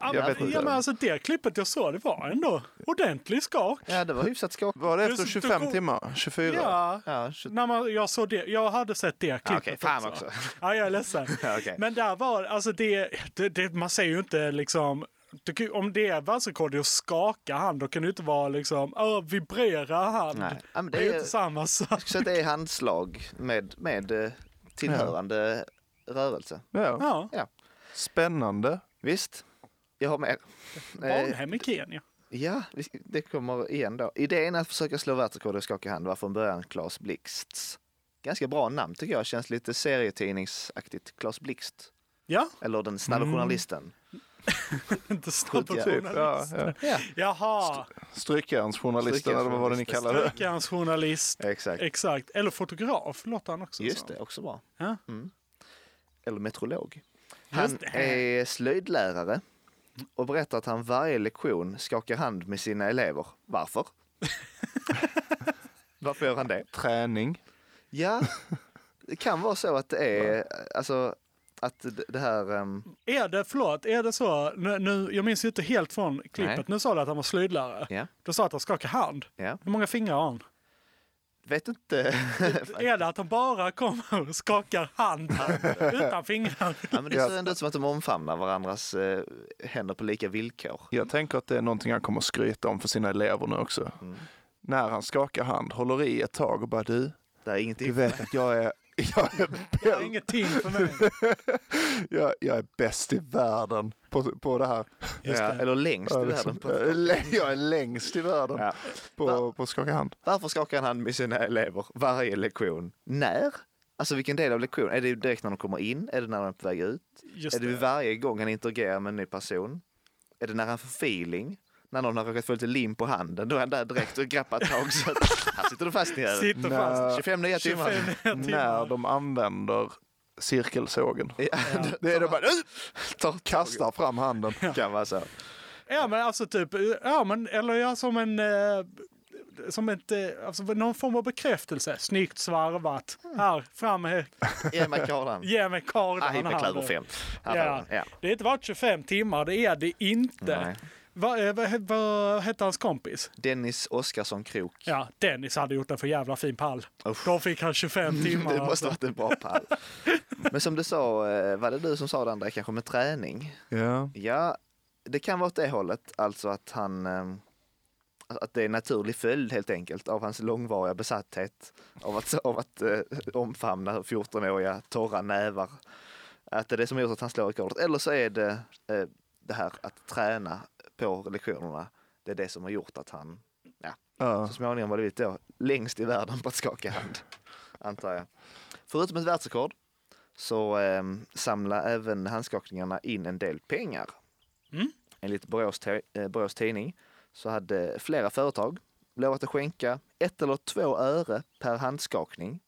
[SPEAKER 2] Ja, men- ja, men alltså det klippet jag såg, det var ändå ordentlig skak.
[SPEAKER 4] Ja, det var hyfsat skak.
[SPEAKER 5] Var det efter 25 timmar? 24?
[SPEAKER 2] Ja,
[SPEAKER 4] ja
[SPEAKER 2] när man, jag, såg det, jag hade sett det klippet
[SPEAKER 4] Ah, okej, fan också.
[SPEAKER 2] <laughs> Ja, jag är
[SPEAKER 4] <laughs>
[SPEAKER 2] ledsen.
[SPEAKER 4] okej.
[SPEAKER 2] Men där var, alltså det, det, det man säger ju inte liksom, du kan ju- om det är världsrekord i att skaka hand, då kan det ju inte vara liksom, "Åh, vibrera hand.
[SPEAKER 4] Nej. Ja, men
[SPEAKER 2] det, är ju inte samma
[SPEAKER 4] <laughs>
[SPEAKER 2] sak.
[SPEAKER 4] Så det är handslag med, med eh, tillhörande rörelse.
[SPEAKER 5] Ja.
[SPEAKER 2] Ja.
[SPEAKER 5] Spännande.
[SPEAKER 4] Visst. Jag har med. Eh,
[SPEAKER 2] Barnhem i Kenya.
[SPEAKER 4] Ja, vi- det kommer igen då. Idén att försöka slå världsrekord och skaka hand var från början Claes Blixts. Ganska bra namn tycker jag, känns lite serietidningsaktigt. Claes Blixt.
[SPEAKER 2] Ja. <laughs>
[SPEAKER 4] Eller den snabba
[SPEAKER 2] Mm.
[SPEAKER 4] journalisten.
[SPEAKER 2] inte snabba
[SPEAKER 4] Skjut-
[SPEAKER 5] Typ,
[SPEAKER 2] journalisten.
[SPEAKER 4] Ja, ja.
[SPEAKER 2] Jaha,
[SPEAKER 5] Strykjärnsjournalisten eller vad var det ni kallade det?
[SPEAKER 2] Strykarens journalist.
[SPEAKER 4] Exakt.
[SPEAKER 2] Exakt. Eller fotograf låter han också.
[SPEAKER 4] Just
[SPEAKER 2] så.
[SPEAKER 4] det, också bra.
[SPEAKER 2] Ja.
[SPEAKER 4] Mm. Eller metrolog. Han
[SPEAKER 2] det.
[SPEAKER 4] är slöjdlärare och berättar att han varje lektion skakar hand med sina elever. <laughs> Varför? Varför gör han det?
[SPEAKER 5] Träning.
[SPEAKER 4] Ja, det kan vara så att det är, alltså, att d- det här... ehm,
[SPEAKER 2] Är det, förlåt, är det så, nu, nu, jag minns ju inte helt från klippet,
[SPEAKER 4] Nej.
[SPEAKER 2] nu sa du att han var slöjdlärare.
[SPEAKER 4] Ja.
[SPEAKER 2] Du sa att han skakar hand.
[SPEAKER 4] Ja.
[SPEAKER 2] Hur många fingrar har han?
[SPEAKER 4] Vet inte.
[SPEAKER 2] Är det att han bara kommer och skakar hand utan fingrar?
[SPEAKER 4] ja, <laughs> men det ser ändå ut som att de omfamnar varandras eh, händer på lika villkor.
[SPEAKER 5] Jag tänker att det är någonting han kommer att skryta om för sina elever nu också. När han skakar hand, håller i ett tag och bara du,
[SPEAKER 4] det är ingenting
[SPEAKER 5] du vet att jag är, <laughs> jag är,
[SPEAKER 2] Det är ingenting för mig.
[SPEAKER 5] jag, jag är bäst i världen på, på det här.
[SPEAKER 4] Just det. Ja, eller längst i
[SPEAKER 5] Ja,
[SPEAKER 4] världen
[SPEAKER 5] liksom.
[SPEAKER 4] på ett-
[SPEAKER 5] Lä- Jag är längst i världen på, på att skaka hand.
[SPEAKER 4] Varför skakar han hand med sina elever varje lektion? När? Alltså vilken del av lektionen? Är det direkt när de kommer in? Är det när de är på väg ut?
[SPEAKER 2] Just
[SPEAKER 4] är det,
[SPEAKER 2] det.
[SPEAKER 4] varje gång han interagerar med en ny person? Är det när han får feeling? När någon har råkat få lite lim på handen, då är han där direkt och grappar tag så att här sitter du fast nere.
[SPEAKER 2] Sitter fast.
[SPEAKER 4] 25 nya timmar.
[SPEAKER 5] När de använder cirkelsågen.
[SPEAKER 4] Det
[SPEAKER 5] är det bara,
[SPEAKER 4] tar,
[SPEAKER 5] <laughs> kastar fram handen.
[SPEAKER 4] Kan
[SPEAKER 2] <laughs>
[SPEAKER 4] vara så.
[SPEAKER 2] Ja men alltså typ, ja men eller ja, som en, eh, som ett, eh, alltså någon form av bekräftelse. Snyggt svarvat. Här, fram med,
[SPEAKER 4] Ge mig kardan.
[SPEAKER 2] ge mig kardan.
[SPEAKER 4] Ah, hitta
[SPEAKER 2] här
[SPEAKER 4] klöver
[SPEAKER 2] nu.
[SPEAKER 4] fem. Här har
[SPEAKER 2] Ja.
[SPEAKER 4] den, ja.
[SPEAKER 2] Det har inte varit 25 timmar, det är det inte.
[SPEAKER 4] Nej.
[SPEAKER 2] Vad eh, vad- vad hette hans kompis?
[SPEAKER 4] Dennis Oskarsson Krook.
[SPEAKER 2] Ja, Dennis hade gjort en för jävla fin pall. Då fick han 25 timmar.
[SPEAKER 4] <laughs>
[SPEAKER 2] alltså.
[SPEAKER 4] Det måste ha varit en bra pall. Men som du sa, eh, var det du som sa det andra, kanske med träning?
[SPEAKER 5] Ja.
[SPEAKER 4] Ja, det kan vara åt det hållet, alltså att han eh, att det är en naturlig följd helt enkelt av hans långvariga besatthet av att, <laughs> av att eh, omfamna 14-åriga torra nävar. Att det är det som har gjort att han slår rekordet. Eller så är det eh, det här att träna på lektionerna. Det är det som har gjort att han ja,
[SPEAKER 5] Ja.
[SPEAKER 4] så småningom var det blivit då längst i världen på att skaka hand. Antar jag. Förutom ett världsrekord så eh, samlar även handskakningarna in en del pengar.
[SPEAKER 2] Mm.
[SPEAKER 4] Enligt Borås, te- eh, Borås Tidning så hade flera företag lovat att skänka ett eller två öre per handskakning.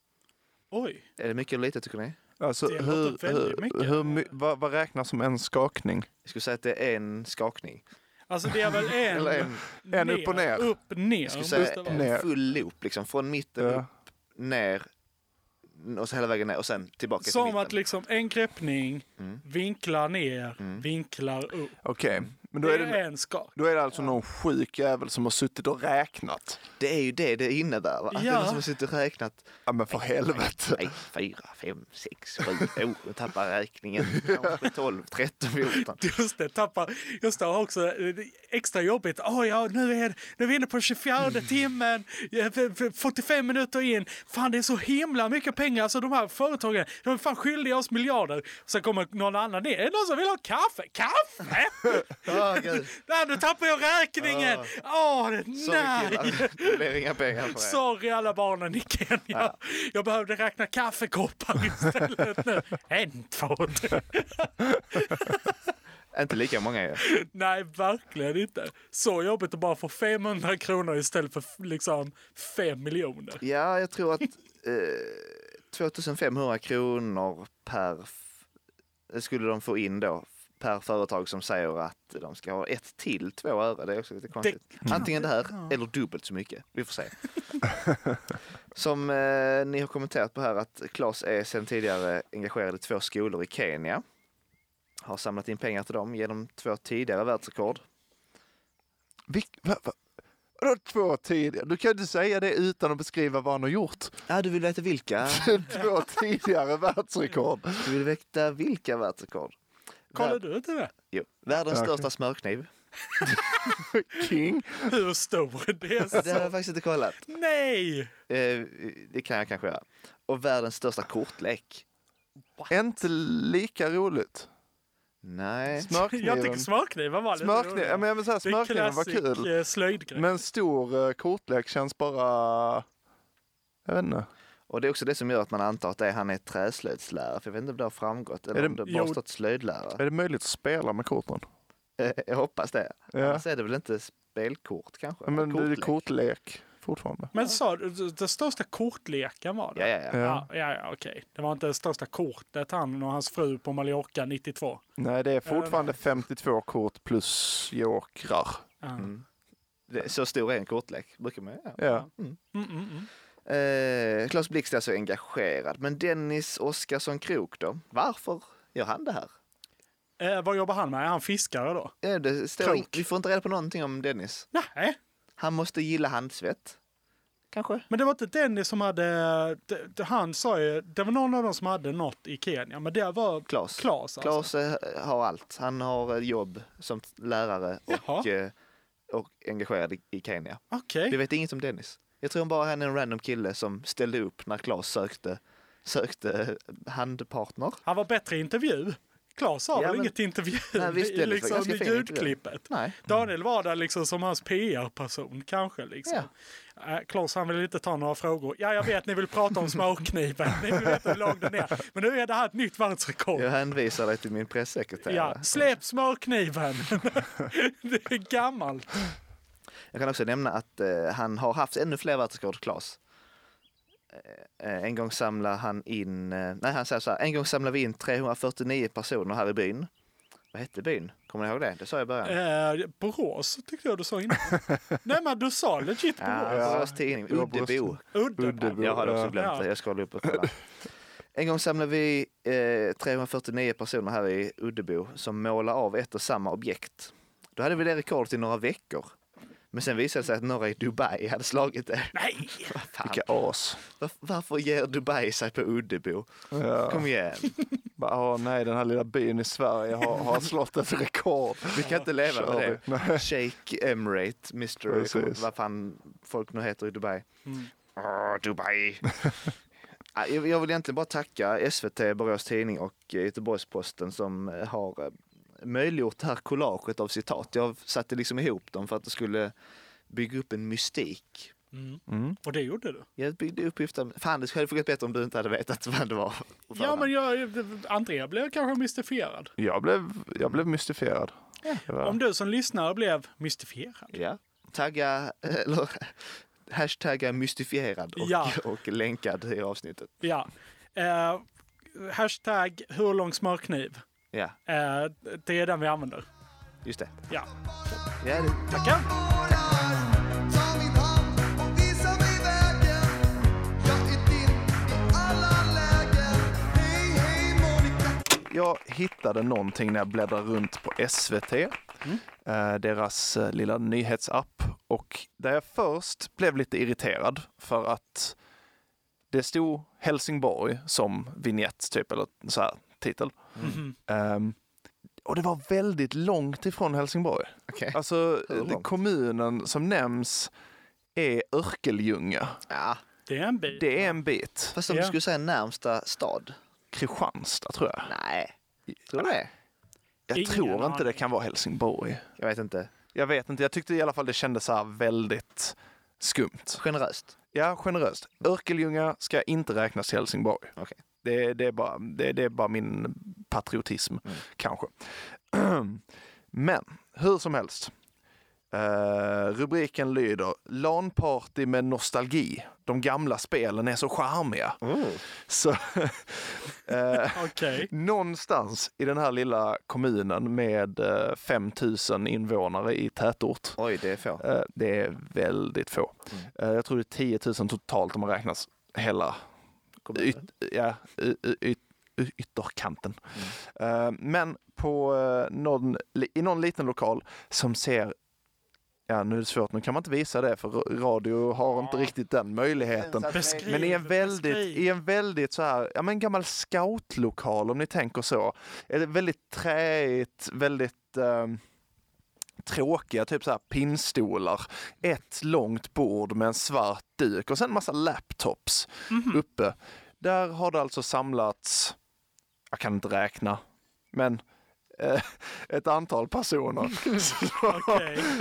[SPEAKER 2] Oj.
[SPEAKER 4] Är det mycket eller lite tycker ni?
[SPEAKER 5] Alltså,
[SPEAKER 2] Det låter
[SPEAKER 5] hur,
[SPEAKER 2] väldigt
[SPEAKER 5] hur,
[SPEAKER 2] mycket.
[SPEAKER 5] hur, my- vad, vad räknas som en skakning?
[SPEAKER 4] Jag skulle säga att det är en skakning.
[SPEAKER 2] Alltså det
[SPEAKER 4] <laughs>
[SPEAKER 2] är väl en...
[SPEAKER 4] Eller en,
[SPEAKER 2] ner, Upp, ner.
[SPEAKER 4] Jag skulle
[SPEAKER 2] måste
[SPEAKER 4] säga
[SPEAKER 2] det vara.
[SPEAKER 4] en full loop, liksom från mitten upp, ner och så hela vägen ner och sen tillbaka till
[SPEAKER 2] Som
[SPEAKER 4] mitten. Mm.
[SPEAKER 2] att liksom en greppning, vinklar ner, vinklar upp.
[SPEAKER 5] Okej, men då
[SPEAKER 2] det
[SPEAKER 5] är
[SPEAKER 2] är,
[SPEAKER 5] det,
[SPEAKER 2] en skak.
[SPEAKER 5] då är det alltså någon sjuk jävel som har suttit och räknat.
[SPEAKER 4] Det är ju det det innebär va? Det är
[SPEAKER 5] Ja.
[SPEAKER 4] någon som har suttit och räknat.
[SPEAKER 5] Ja men för helvete.
[SPEAKER 4] Nej, fyra, fem, sex, sju, oh, jag tappar räkningen. Kanske tolv, tretton, fjorton.
[SPEAKER 2] Just det, tappa. Just det, har också eh, extra jobbigt. Åh ja, nu är, nu är vi inne på 24 timmen, Ja, f- f- 45 minuter in. Fan, det är så himla mycket pengar. Alltså de här företagen, de är fan skyldiga oss miljarder. Sen kommer någon annan ner. Är det någon som vill ha kaffe? Kaffe? Nej, nu tappar jag räkningen! Åh, nej!
[SPEAKER 4] Det blir inga pengar på det.
[SPEAKER 2] Sorry alla barnen i Kenya. Jag behövde räkna kaffekoppar istället nu. En, två, tre.
[SPEAKER 4] Inte lika många ju.
[SPEAKER 2] Nej, verkligen inte. Så jobbigt att bara få 500 kronor istället för f- liksom 5 miljoner.
[SPEAKER 4] Ja, jag tror att eh, 2500 kronor per f- skulle de få in då per företag som säger att de ska ha ett till två öre. Det är också lite konstigt.
[SPEAKER 5] kan-
[SPEAKER 4] Antingen det här
[SPEAKER 5] ja.
[SPEAKER 4] eller dubbelt så mycket. Vi får se. som eh, ni har kommenterat på här att Claes är sedan tidigare engagerad i två skolor i Kenya. Har samlat in pengar till dem genom två tidigare världsrekord.
[SPEAKER 5] Vilk, va, va? Vadå två tidigare? Du kan ju inte säga det utan att beskriva vad han har <laughs> gjort.
[SPEAKER 4] Ja, du vill veta vilka?
[SPEAKER 5] två tidigare världsrekord.
[SPEAKER 4] <laughs> Du vill veta vilka världsrekord?
[SPEAKER 2] Kollar du inte det?
[SPEAKER 4] Jo. Världens
[SPEAKER 5] Ja, okej.
[SPEAKER 4] största smörkniv.
[SPEAKER 5] King.
[SPEAKER 2] Hur stor? Det är
[SPEAKER 4] Det har jag
[SPEAKER 2] så...
[SPEAKER 4] faktiskt inte kollat.
[SPEAKER 2] Nej!
[SPEAKER 4] Eh, det kan jag kanske göra. Och världens största kortlek.
[SPEAKER 5] Inte lika roligt.
[SPEAKER 4] Nej.
[SPEAKER 5] Smörkniven.
[SPEAKER 2] Jag tycker smörkniven var lite
[SPEAKER 5] Smörkniv, ja, men jag vill säga,
[SPEAKER 2] Det är
[SPEAKER 5] smörkniven var
[SPEAKER 2] klassisk,
[SPEAKER 5] kul.
[SPEAKER 2] eh, slöjdgrej.
[SPEAKER 5] Men stor eh, kortlek känns bara... Jag vet inte.
[SPEAKER 4] Och det är också det som gör att man antar att det är, han är träslöjdslärare. För jag vet inte om det har framgått. Eller
[SPEAKER 5] Är det-
[SPEAKER 4] om det bara
[SPEAKER 5] Jo.
[SPEAKER 4] stått slöjdlärare.
[SPEAKER 5] Är det möjligt att spela med korten?
[SPEAKER 4] Eh, <laughs> jag hoppas det.
[SPEAKER 5] Ja.
[SPEAKER 4] Annars är det väl inte spelkort kanske?
[SPEAKER 5] Ja, men det är
[SPEAKER 4] Kortlek.
[SPEAKER 5] kortlek fortfarande.
[SPEAKER 2] Men sa du, den största kortleken var det?
[SPEAKER 4] Ja, ja, ja.
[SPEAKER 2] ja. ja, ja okej. Det var inte det största kortet han och hans fru på Mallorca 92.
[SPEAKER 5] Nej,
[SPEAKER 2] Äh,
[SPEAKER 5] det är fortfarande 52 kort plus jokrar.
[SPEAKER 2] Mm.
[SPEAKER 4] Det, så stor är en kortlek, brukar man göra.
[SPEAKER 5] Ja.
[SPEAKER 4] Eh, Claes Blixt är alltså engagerad. Men Dennis Oskarsson Krook då? Varför gör han det här?
[SPEAKER 2] Eh, vad jobbar han med? Är han fiskare då?
[SPEAKER 4] Ja, det står,
[SPEAKER 2] Krook.
[SPEAKER 4] vi får inte reda på någonting om Dennis.
[SPEAKER 2] Nej.
[SPEAKER 4] Han måste gilla handsvett. Kanske.
[SPEAKER 2] Men det var inte Dennis som hade... det- det- Han sa ju... Det var någon av dem som hade något i Kenya. Men det var
[SPEAKER 4] Klas.
[SPEAKER 2] Klas. Alltså.
[SPEAKER 4] Claes eh, har allt. Han har eh, jobb som t- lärare och, eh, och engagerad i- i Kenya.
[SPEAKER 2] Okej.
[SPEAKER 4] Vi vet inget om Dennis. Jag tror bara han är en random kille som ställde upp när Claes sökte, sökte eh, handpartner.
[SPEAKER 2] Han var bättre i intervju. Klas sa
[SPEAKER 4] Ja,
[SPEAKER 2] väl
[SPEAKER 4] men-
[SPEAKER 2] inget intervju
[SPEAKER 4] Nej, visst,
[SPEAKER 2] i,
[SPEAKER 4] Dennis var
[SPEAKER 2] liksom,
[SPEAKER 4] ganska
[SPEAKER 2] i
[SPEAKER 4] fin i intervju.
[SPEAKER 2] ljudklippet.
[SPEAKER 4] Nej.
[SPEAKER 2] Daniel var där liksom som hans PR-person kanske. Liksom. Eh, Klas han vill inte ta några frågor. Ja, jag vet ni vill prata om småkniven. ni vill veta hur lång den är. Men nu är det här ett nytt världsrekord.
[SPEAKER 4] Jag hänvisar dig till min pressekreterare.
[SPEAKER 2] Ja, släpp smörkniven! <laughs> det är gammalt.
[SPEAKER 4] Jag kan också nämna att eh, han har haft ännu fler världsrekord, Claes. Eh, eh, en gång samlade han in, eh, nej han säger så här, en gång samlade vi in 349 personer här i byn. Vad hette byn? Kommer ni ihåg det? Det sa jag i början.
[SPEAKER 2] Eh, Borås tyckte jag du sa innan. Nej men du sa legit Borås.
[SPEAKER 4] Ja, Borås tidning.
[SPEAKER 2] Ja,
[SPEAKER 4] Uddebo.
[SPEAKER 2] Uddebo.
[SPEAKER 4] Jag hade också
[SPEAKER 2] ja.
[SPEAKER 4] glömt det. Jag ska hålla upp och kolla. En gång samlade vi eh, 349 personer här i Uddebo som målade av ett och samma objekt. Då hade vi det rekordet i några veckor. Men sen visade det sig att några i Dubai hade slagit det. <laughs>
[SPEAKER 2] Nej!
[SPEAKER 5] Vilka as.
[SPEAKER 4] Var, varför ger Dubai sig på Uddebo?
[SPEAKER 5] Ja.
[SPEAKER 4] Kom igen.
[SPEAKER 5] Bara, åh nej, den här lilla byn i Sverige har, har slått ett rekord.
[SPEAKER 4] Vi kan inte leva
[SPEAKER 5] Kör
[SPEAKER 4] med
[SPEAKER 5] vi.
[SPEAKER 4] det. Sheikh Emirate, Mr.
[SPEAKER 5] Precis.
[SPEAKER 4] jag kommer inte- Vad fan folk nu heter i Dubai. Ah,
[SPEAKER 5] <laughs>
[SPEAKER 4] Dubai. Ah, jag jag vill egentligen bara tacka SVT, Borås Tidning och eh, Göteborgs-Posten som eh, har eh, möjliggjort det här collaget av citat. Jag satte liksom ihop dem för att det skulle bygga upp en mystik.
[SPEAKER 2] Mm. Och det gjorde du?
[SPEAKER 4] Jag byggde upp uppgifter. Fan, det hade fungerat bättre om du inte hade vetat vad det var.
[SPEAKER 2] Ja men jag, Andrea blev kanske mystifierad.
[SPEAKER 5] Jag blev, jag blev mystifierad. Det var-
[SPEAKER 2] Om du som lyssnare blev mystifierad.
[SPEAKER 4] Ja. Tagga, eh, eller <laughs> hashtagga mystifierad <laughs> och,
[SPEAKER 2] Ja.
[SPEAKER 4] och länkad i avsnittet.
[SPEAKER 2] Ja. Eh, hashtag hur lång smörkniv.
[SPEAKER 4] Ja,
[SPEAKER 2] Eh, det är den vi använder.
[SPEAKER 4] just det.
[SPEAKER 2] Ja.
[SPEAKER 4] Ja, det...
[SPEAKER 2] Tackar!
[SPEAKER 5] Jag hittade någonting när jag bläddrade runt på SVT,
[SPEAKER 4] Mm.
[SPEAKER 5] eh, deras eh, lilla nyhetsapp. Och där jag först blev lite irriterad för att det stod Helsingborg som vignett, typ, eller så här titel.
[SPEAKER 4] Mm-hmm.
[SPEAKER 2] Mhm.
[SPEAKER 5] Ehm, och det var väldigt långt ifrån Helsingborg. Alltså,
[SPEAKER 4] Hur långt?
[SPEAKER 5] kommunen som nämns är Örkelljunga.
[SPEAKER 2] Det är en bit.
[SPEAKER 5] Det är en bit.
[SPEAKER 4] Fast om du skulle säga närmsta stad?
[SPEAKER 5] Kristianstad tror jag.
[SPEAKER 4] Nej, tror du det?
[SPEAKER 5] Jag
[SPEAKER 4] Ingen
[SPEAKER 5] tror inte det
[SPEAKER 4] aning.
[SPEAKER 5] kan vara Helsingborg.
[SPEAKER 4] Jag vet inte.
[SPEAKER 5] Jag vet inte, jag tyckte i alla fall det kändes så här väldigt skumt.
[SPEAKER 4] Generöst.
[SPEAKER 5] Ja, generöst. Örkelljunga ska inte räknas till Helsingborg.
[SPEAKER 4] Okej.
[SPEAKER 5] Det, det, är bara, det, det är bara min patriotism, kanske. <clears throat> Men hur som helst. Eh, rubriken lyder LAN-party med nostalgi. De gamla spelen är så charmiga. Så, <laughs> eh,
[SPEAKER 2] Okej.
[SPEAKER 5] Någonstans i den här lilla kommunen med eh, 5 000 invånare i tätort.
[SPEAKER 4] Oj, det är få.
[SPEAKER 5] Eh, Det är väldigt få. Eh, Jag tror det är 10 000 totalt om man räknas hela yt, ja, y, y, yt, y- ytterkanten. Eh, Men på eh, någon, li- i någon liten lokal som ser Ja, nu är det svårt. Nu kan man inte visa det för ra- radio har inte riktigt den möjligheten.
[SPEAKER 2] Beskriv,
[SPEAKER 5] Men i en väldigt,
[SPEAKER 2] beskriv.
[SPEAKER 5] i en väldigt så här, ja men gammal scoutlokal om ni tänker så. Ett Väldigt träigt, väldigt ehm, tråkiga typ så här pinnstolar, ett långt bord med en svart duk och sen massa laptops
[SPEAKER 4] Mhm.
[SPEAKER 5] uppe. Där har det alltså samlats, jag kan inte räkna, men eh, ett antal
[SPEAKER 4] <laughs>
[SPEAKER 5] personer. Så-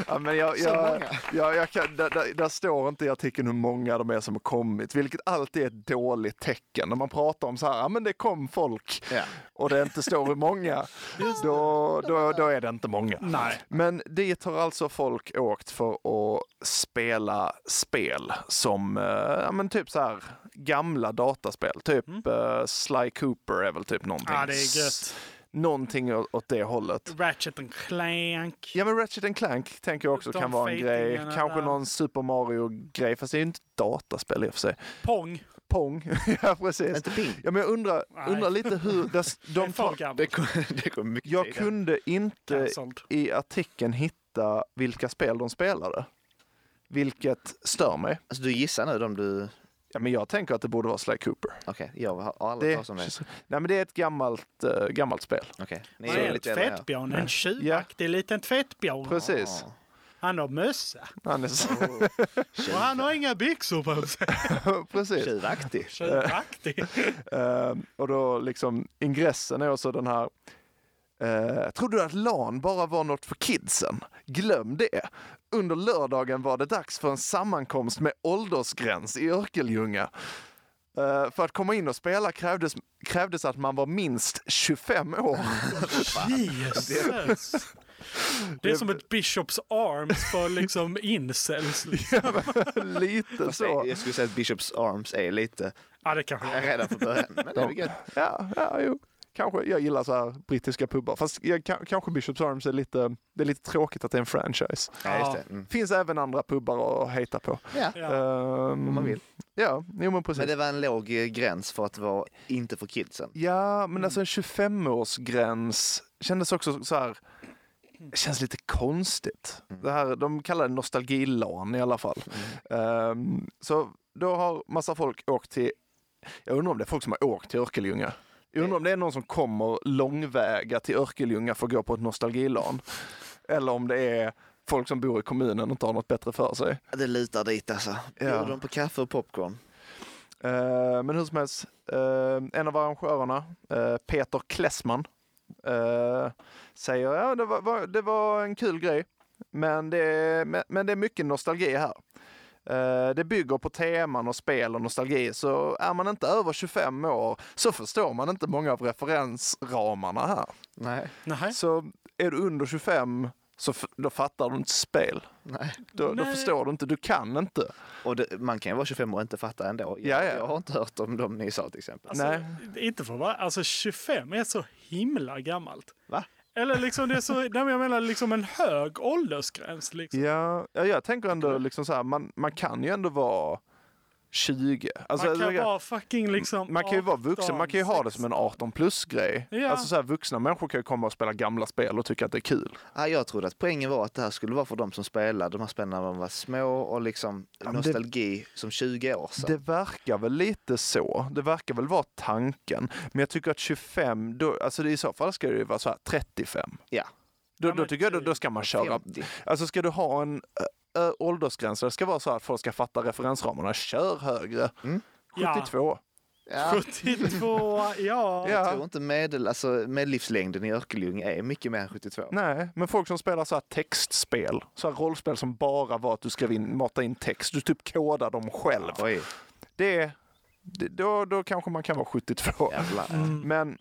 [SPEAKER 5] ja, men jag,
[SPEAKER 4] Så
[SPEAKER 5] jag,
[SPEAKER 4] många?
[SPEAKER 5] jag, jag kan, där, där, där står inte i artikeln hur många de är som har kommit, vilket alltid är ett dåligt tecken. När man pratar om så här, ja men det kom folk
[SPEAKER 4] Ja.
[SPEAKER 5] och det inte står hur
[SPEAKER 4] <laughs>
[SPEAKER 5] många, då, då, då är det inte många.
[SPEAKER 2] Nej.
[SPEAKER 5] Men dit har alltså folk åkt för att spela spel som eh, ja, men typ så här gamla dataspel. Typ eh, Sly Cooper är väl typ någonting.
[SPEAKER 2] Mm. Ja, det är gött.
[SPEAKER 5] Någonting å- åt det hållet.
[SPEAKER 2] Ratchet and Clank.
[SPEAKER 5] Ja men Ratchet and Clank tänker jag också
[SPEAKER 2] De
[SPEAKER 5] kan vara en grej.
[SPEAKER 2] fejtingarna
[SPEAKER 5] Kanske
[SPEAKER 2] där.
[SPEAKER 5] någon Super Mario-grej, fast det är ju inte dataspel i och för sig.
[SPEAKER 2] Pong.
[SPEAKER 5] Pong, <laughs> ja precis.
[SPEAKER 4] Inte ping. <laughs>
[SPEAKER 5] Ja, men jag undrar, undrar
[SPEAKER 2] <laughs>
[SPEAKER 5] lite hur... Där, de
[SPEAKER 2] för
[SPEAKER 5] tar-
[SPEAKER 2] gammalt.
[SPEAKER 4] Det kom, det kom mycket
[SPEAKER 5] jag
[SPEAKER 4] tidigare.
[SPEAKER 5] kunde inte
[SPEAKER 2] Cancelled.
[SPEAKER 5] i artikeln hitta vilka spel de spelade. Vilket stör mig.
[SPEAKER 4] Alltså du gissar nu de du...
[SPEAKER 5] Ja, men jag tänker att det borde vara Sly Cooper.
[SPEAKER 4] Okej, jag har aldrig
[SPEAKER 5] Det,
[SPEAKER 4] hört om det.
[SPEAKER 5] nej, men det är ett gammalt, eh, gammalt spel.
[SPEAKER 4] Okej, ni
[SPEAKER 2] Vad är en
[SPEAKER 4] lite äldre än jag.
[SPEAKER 2] tvättbjörn? En tjuvaktig liten tvättbjörn.
[SPEAKER 5] Precis.
[SPEAKER 2] Han har mössa.
[SPEAKER 5] Han är så-
[SPEAKER 2] Och han har inga byxor på sig.
[SPEAKER 5] Precis.
[SPEAKER 4] Tjuvaktig.
[SPEAKER 2] Tjuvaktig.
[SPEAKER 5] Eh, och då liksom ingressen är också den här Uh, trodde du att LAN bara var något för kidsen? Glöm det! Under lördagen var det dags för en sammankomst med åldersgräns i Örkelljunga. Eh, för att komma in och spela krävdes, krävdes att man var minst 25 år.
[SPEAKER 2] Jesus. Det är som ett Bishops Arms för liksom incels. Liksom.
[SPEAKER 5] Lite
[SPEAKER 4] Fast jag-
[SPEAKER 5] så.
[SPEAKER 4] Jag skulle säga att Bishops Arms är lite
[SPEAKER 2] Ja, det kanske det är.
[SPEAKER 4] redan från början. Men det är väl gött.
[SPEAKER 5] Ja, ja jo. Kanske, jag gillar så här brittiska pubbar. Fast jag, ka- kanske Bishops Arms är lite, det är lite tråkigt att det är en franchise.
[SPEAKER 4] Ja, just det. Mm.
[SPEAKER 5] Finns även andra pubbar att hejta på.
[SPEAKER 4] Ja.
[SPEAKER 5] Ehm,
[SPEAKER 4] Om man vill.
[SPEAKER 5] Ja, jo men precis.
[SPEAKER 4] Men det var en låg eh, gräns för att vara inte för kidsen.
[SPEAKER 5] Ja,
[SPEAKER 4] Mm.
[SPEAKER 5] men alltså en 25-årsgräns kändes också så här... känns lite konstigt.
[SPEAKER 4] Mm.
[SPEAKER 5] Det här, de kallar det nostalgilan i alla fall. Ehm, så då har massa folk åkt till... Jag undrar om det är folk som har åkt till Örkelljunga. Jag undrar om det är någon som kommer långväga till Örkelljunga för att gå på ett nostalgilan. Eller om det är folk som bor i kommunen och inte har något bättre för sig.
[SPEAKER 4] Det lutar dit alltså.
[SPEAKER 5] Ja.
[SPEAKER 4] Bjuder de på kaffe och popcorn?
[SPEAKER 5] Eh, men hur som helst, eh, en av arrangörerna, eh, Peter Klessman, eh, säger att ja, det, var, var, det var en kul grej, men det, är- men, men det är mycket nostalgi här. Eh, det bygger på teman och spel och nostalgi, så är man inte över 25 år så förstår man inte många av referensramarna här.
[SPEAKER 4] Nej.
[SPEAKER 2] Nej.
[SPEAKER 5] Så är du under 25 så f- då fattar du inte spel.
[SPEAKER 4] Nej.
[SPEAKER 5] Då, då förstår du inte, du kan inte.
[SPEAKER 4] Och det, man kan ju vara 25 och inte fatta ändå. Jag, jag har inte hört om dem ni sa till exempel.
[SPEAKER 2] Alltså, Inte för vad, alltså 25 är så himla gammalt.
[SPEAKER 4] Va?
[SPEAKER 2] Eller liksom det är så, nej men jag menar liksom en hög åldersgräns. Liksom.
[SPEAKER 5] Ja, ja, jag tänker ändå liksom så här, man, man kan ju ändå vara 20. Alltså,
[SPEAKER 2] man kan
[SPEAKER 5] jag-
[SPEAKER 2] vara fucking liksom
[SPEAKER 5] man kan ju vara vuxen,
[SPEAKER 2] 18,
[SPEAKER 5] man kan ju ha det som en 18 plus-grej.
[SPEAKER 2] Ja.
[SPEAKER 5] Alltså så här, vuxna människor kan ju komma och spela gamla spel och tycka att det är kul.
[SPEAKER 4] Ah, jag trodde att poängen var att det här skulle vara för de som spelade de här spelen när de var små och liksom
[SPEAKER 5] men det-
[SPEAKER 4] nostalgi som 20 år sedan.
[SPEAKER 5] Det verkar väl lite så. Det verkar väl vara tanken. Men jag tycker att 25, då, alltså i så fall ska det ju vara så här 35.
[SPEAKER 4] Ja.
[SPEAKER 5] Då, då tycker jag då, då ska man köra.
[SPEAKER 4] 50.
[SPEAKER 5] Alltså ska du ha en ö, ö, åldersgräns, det ska vara så här att folk ska fatta referensramarna. Kör högre. 72.
[SPEAKER 4] Ja.
[SPEAKER 2] 72, ja.
[SPEAKER 4] Jag tror inte medel, alltså, medellivslängden i Örkelljung är mycket mer än 72.
[SPEAKER 5] Nej, men folk som spelar så här textspel, så här rollspel som bara var att du skrev in, matade in text, du typ kodar dem själv.
[SPEAKER 4] Oj.
[SPEAKER 5] Det, det, då, då kanske man kan vara 72. <laughs> Men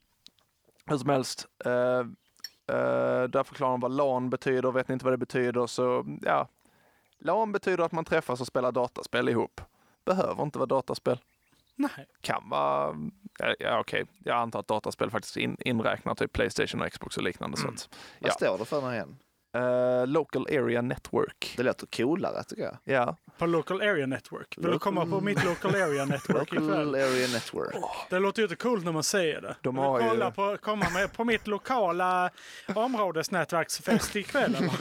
[SPEAKER 5] hur som helst, eh, eh, där förklarar de vad LAN betyder, vet ni inte vad det betyder så ja. LAN betyder att man träffas och spelar dataspel ihop. Behöver inte vara dataspel.
[SPEAKER 2] Nej.
[SPEAKER 5] Kan vara, ja, ja okej, jag antar att dataspel faktiskt in, inräknar typ Playstation och Xbox och liknande. Så att,
[SPEAKER 4] Vad
[SPEAKER 5] ja.
[SPEAKER 4] står det för nu igen?
[SPEAKER 5] Eh, local Area Network.
[SPEAKER 4] Det låter coolare tycker jag.
[SPEAKER 5] Ja.
[SPEAKER 2] På Local Area Network. Vill du komma på mitt Local Area Network
[SPEAKER 4] Local
[SPEAKER 2] ikväll?
[SPEAKER 4] Area Network.
[SPEAKER 2] Det låter ju inte coolt när man säger det.
[SPEAKER 5] De
[SPEAKER 2] Vill du
[SPEAKER 5] har ju-
[SPEAKER 2] kolla på, komma med på mitt lokala områdesnätverksfest ikväll. eller?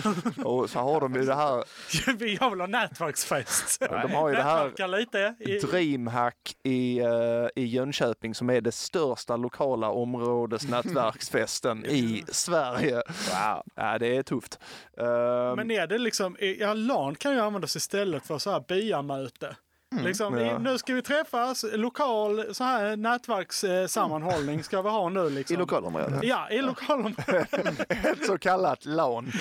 [SPEAKER 5] <laughs> Och så har de ju det här
[SPEAKER 2] Jag vill ha nätverksfest.
[SPEAKER 5] de har ju det här
[SPEAKER 2] Nätverkar lite. I,
[SPEAKER 5] Dreamhack i, eh, i Jönköping som är det största lokala <laughs> områdesnätverksfesten i Sverige. Wow. Ja, det är tufft. Ehm,
[SPEAKER 2] Men är det liksom, ja LAN kan ju användas istället för så här byamöte. liksom,
[SPEAKER 5] Mm, Ja.
[SPEAKER 2] i- Nu ska vi träffas, lokal så här nätverkssammanhållning ska vi ha nu. Liksom.
[SPEAKER 4] I lokalområdet.
[SPEAKER 2] Ja, i
[SPEAKER 5] <laughs>
[SPEAKER 2] lokalområdet.
[SPEAKER 5] Ett så kallat LAN.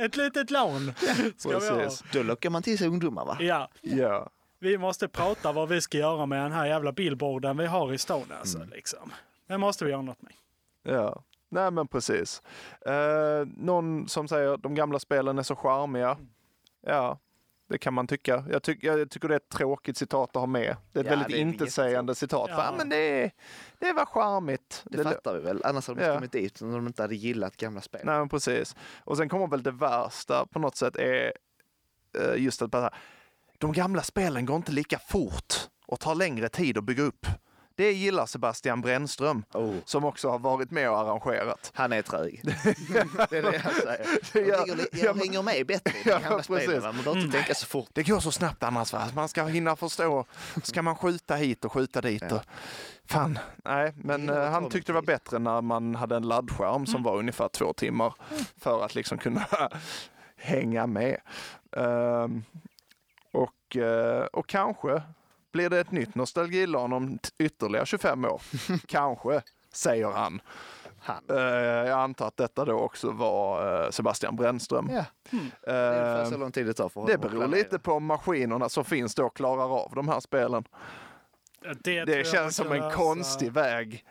[SPEAKER 2] Ett litet LAN ska vi ha.
[SPEAKER 4] Precis. Då lockar man till sig ungdomar va?
[SPEAKER 2] Ja,
[SPEAKER 5] Ja.
[SPEAKER 2] vi måste prata vad vi ska göra med den här jävla billboarden vi har i stan. Alltså,
[SPEAKER 5] Mm.
[SPEAKER 2] liksom. Det måste vi göra något med.
[SPEAKER 5] Ja, nej men precis. Eh, någon som säger de gamla spelen är så charmiga.
[SPEAKER 4] Mm.
[SPEAKER 5] Ja, det kan man tycka. Jag, tyck, jag tycker det är ett tråkigt citat att ha med. Det är ett
[SPEAKER 4] Ja,
[SPEAKER 5] väldigt
[SPEAKER 4] det är
[SPEAKER 5] intetsägande citat.
[SPEAKER 4] Ja.
[SPEAKER 5] Ja. men det, det var charmigt.
[SPEAKER 4] Det fattar vi väl, annars hade de
[SPEAKER 5] Ja.
[SPEAKER 4] inte kommit dit om de inte hade gillat gamla spel.
[SPEAKER 5] Nej, men precis. Och sen kommer väl det värsta på något sätt är eh, just att bara, de gamla spelen går inte lika fort och tar längre tid att bygga upp. Det gillar Sebastian Brännström
[SPEAKER 4] Oh.
[SPEAKER 5] som också har varit med och arrangerat.
[SPEAKER 4] Han
[SPEAKER 5] <laughs>
[SPEAKER 4] är trög. Det är det jag säger.
[SPEAKER 5] Det
[SPEAKER 4] Jag,
[SPEAKER 5] gör-
[SPEAKER 4] ligger-
[SPEAKER 5] ja,
[SPEAKER 4] jag
[SPEAKER 5] men-
[SPEAKER 4] hänger med bättre i
[SPEAKER 5] <laughs>
[SPEAKER 4] de
[SPEAKER 5] Ja,
[SPEAKER 4] gamla spelen.
[SPEAKER 5] precis. Mm.
[SPEAKER 4] va? Man behöver inte tänka så fort.
[SPEAKER 5] Det går så snabbt annars, va? man ska hinna förstå. Ska man skjuta hit och skjuta dit? Och... Fan, nej, men eh, han tyckte det var bättre när man hade en laddskärm
[SPEAKER 4] Mm.
[SPEAKER 5] som var ungefär två timmar för att liksom kunna <laughs> hänga med. Ehm, och, eh, och kanske blir det ett nytt nostalgilan om t- ytterligare 25
[SPEAKER 4] <laughs>
[SPEAKER 5] år. kanske, säger han. Eh, jag antar att detta då också var eh, Sebastian Brännström.
[SPEAKER 4] Ja.
[SPEAKER 5] Det
[SPEAKER 4] är ungefär så lång tid det tar för honom
[SPEAKER 5] Ehm, Det
[SPEAKER 4] att
[SPEAKER 5] beror
[SPEAKER 4] planera.
[SPEAKER 5] lite på om maskinerna som finns då klarar av de här spelen.
[SPEAKER 2] Det, tror
[SPEAKER 5] Det
[SPEAKER 2] jag man
[SPEAKER 5] känns som
[SPEAKER 2] kan
[SPEAKER 5] en
[SPEAKER 2] lösa.
[SPEAKER 5] konstig väg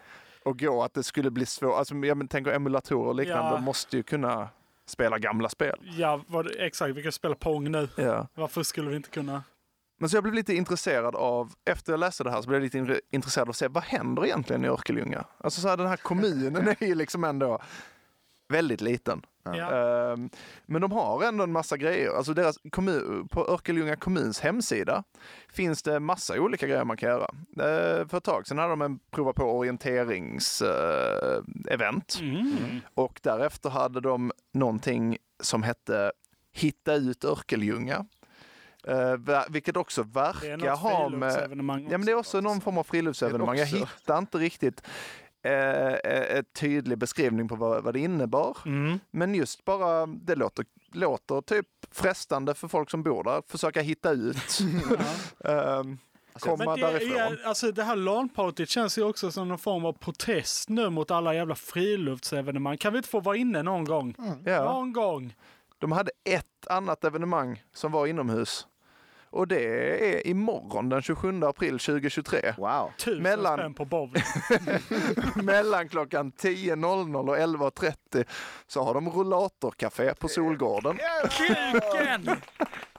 [SPEAKER 5] att gå, att det skulle bli svårt. Alltså, jag men- tänker emulatorer och liknande,
[SPEAKER 2] Ja.
[SPEAKER 5] de måste ju kunna spela gamla spel.
[SPEAKER 2] Ja, vad, exakt. Vi kan spela Pong nu.
[SPEAKER 5] Ja.
[SPEAKER 2] Varför skulle vi inte kunna?
[SPEAKER 5] Men så jag blev lite intresserad av, efter jag läste det här så blev jag lite in- intresserad av att se vad händer egentligen i Örkelljunga? Alltså så här, den här kommunen är ju liksom ändå väldigt liten.
[SPEAKER 2] Ja.
[SPEAKER 5] Ehm, Men de har ändå en massa grejer. Alltså deras kommun, på Örkelljunga kommuns hemsida finns det massa olika grejer man kan göra. Ehm, För ett tag sedan hade de en prova på eh, orienteringsevent. Och därefter hade de någonting som hette Hitta ut Örkelljunga. Ehm, ver- Vilket också verkar
[SPEAKER 2] något
[SPEAKER 5] ha med...
[SPEAKER 2] friluftsevenemang
[SPEAKER 5] Ja, men det är också någon form av friluftsevenemang. Jag
[SPEAKER 2] Också.
[SPEAKER 5] hittar inte riktigt eh, eh, en tydlig beskrivning på vad, vad det innebar.
[SPEAKER 2] Mm.
[SPEAKER 5] Men just bara, det låter, låter typ frestande för folk som bor där, försöka
[SPEAKER 2] <laughs>
[SPEAKER 5] hitta ut. Ehm,
[SPEAKER 2] Men
[SPEAKER 5] komma
[SPEAKER 2] det,
[SPEAKER 5] därifrån.
[SPEAKER 2] Är, alltså det här LAN-partyt känns ju också som någon form av protest nu mot alla jävla friluftsevenemang. Kan vi inte få vara inne någon gång?
[SPEAKER 5] Ja.
[SPEAKER 2] Någon gång.
[SPEAKER 5] De hade ett annat evenemang som var inomhus. Och det är imorgon den 27 april 2023.
[SPEAKER 4] Wow.
[SPEAKER 2] Tusen spänn på bowling.
[SPEAKER 5] <laughs> mellan klockan 10.00 och 11.30 så har de rullatorcafé på Solgården. <laughs>
[SPEAKER 2] Kuken!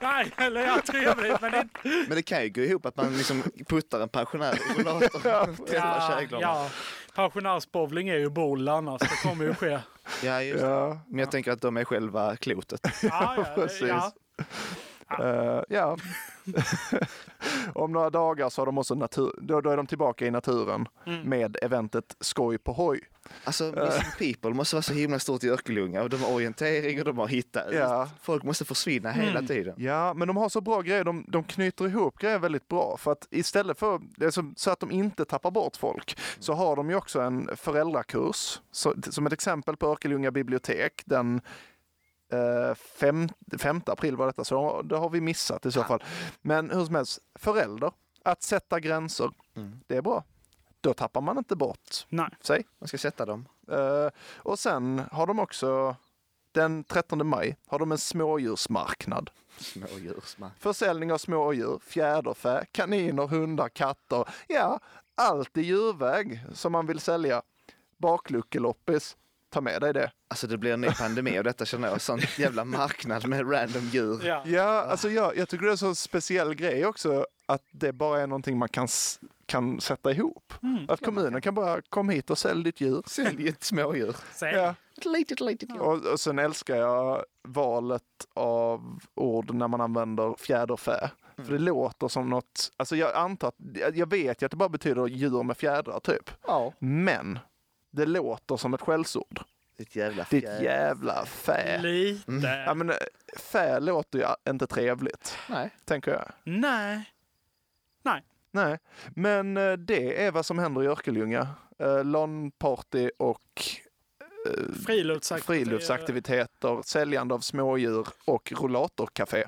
[SPEAKER 2] Nej, eller ja, trevligt men inte...
[SPEAKER 4] Men det kan ju gå ihop att man liksom puttar en pensionär i rollatorn. <laughs> Träffar
[SPEAKER 2] Ja,
[SPEAKER 4] käglorna.
[SPEAKER 2] ja. Pensionärsbowling är ju bowl annars. Det kommer ju
[SPEAKER 5] <laughs>
[SPEAKER 2] ske.
[SPEAKER 4] Ja, just det. Men jag tänker att de är
[SPEAKER 5] <laughs>
[SPEAKER 4] själva klotet.
[SPEAKER 2] Ja,
[SPEAKER 4] <laughs>
[SPEAKER 2] ja,
[SPEAKER 5] Precis.
[SPEAKER 2] ja.
[SPEAKER 5] Eh, ja. <laughs> Om några dagar så har de också natur, då, då är de tillbaka i naturen
[SPEAKER 4] Mm.
[SPEAKER 5] med eventet Skoj på hoj.
[SPEAKER 4] Alltså, Missing People måste vara så himla stort i Örkelljunga. Och De har orientering och de har hittat.
[SPEAKER 5] Ja. Mm.
[SPEAKER 4] Folk måste försvinna hela tiden.
[SPEAKER 5] Ja, men de har så bra grejer. De, de knyter ihop grejer väldigt bra. För att istället för, alltså, så att de inte tappar bort folk, så har de ju också en föräldrakurs. Så, som ett exempel på Örkelljunga bibliotek, den eh, fem, 5 april var detta, så det har vi missat i så fall. Men hur som helst, förälder, att sätta gränser, det är bra. Då tappar man inte bort
[SPEAKER 2] Nej.
[SPEAKER 5] sig.
[SPEAKER 4] Man ska sätta dem.
[SPEAKER 5] Eh, och sen har de också, den 13 maj, har de en smådjursmarknad.
[SPEAKER 4] Smådjursmark.
[SPEAKER 5] Försäljning av smådjur, fjäderfä, kaniner, hundar, katter. Ja, allt i djurväg som man vill sälja. Bakluckeloppis, ta med dig det.
[SPEAKER 4] Alltså det blir en ny pandemi av detta känner jag. Sån jävla marknad med random djur.
[SPEAKER 2] Ja,
[SPEAKER 5] alltså jag, jag tycker det är en sån speciell grej också att det bara är någonting man kan, s- kan sätta ihop. Att kommunen kan bara komma hit och sälja ditt djur.
[SPEAKER 4] Sälj ditt smådjur.
[SPEAKER 2] Sälj.
[SPEAKER 5] Ja.
[SPEAKER 13] Ett litet, litet djur.
[SPEAKER 5] Och, och sen älskar jag valet av ord när man använder fjäderfä.
[SPEAKER 4] Mm.
[SPEAKER 5] För det låter som något, alltså jag antar att, jag- jag vet ju att det bara betyder djur med fjädrar typ.
[SPEAKER 4] Ja.
[SPEAKER 5] Men det låter som ett skällsord.
[SPEAKER 4] Ditt jävla
[SPEAKER 5] Ditt
[SPEAKER 4] fjär-
[SPEAKER 5] jävla fä.
[SPEAKER 2] Lite.
[SPEAKER 5] Ja, men, eh, fä låter ju inte trevligt,
[SPEAKER 4] Nej.
[SPEAKER 5] tänker jag.
[SPEAKER 2] Nej. Nej.
[SPEAKER 5] Nej, men eh, det är vad som händer i Örkelljunga. Eh, LAN-party och eh,
[SPEAKER 2] Friluftsaktiviteter.
[SPEAKER 5] friluftsaktiviteter, säljande av smådjur och rullatorcafé.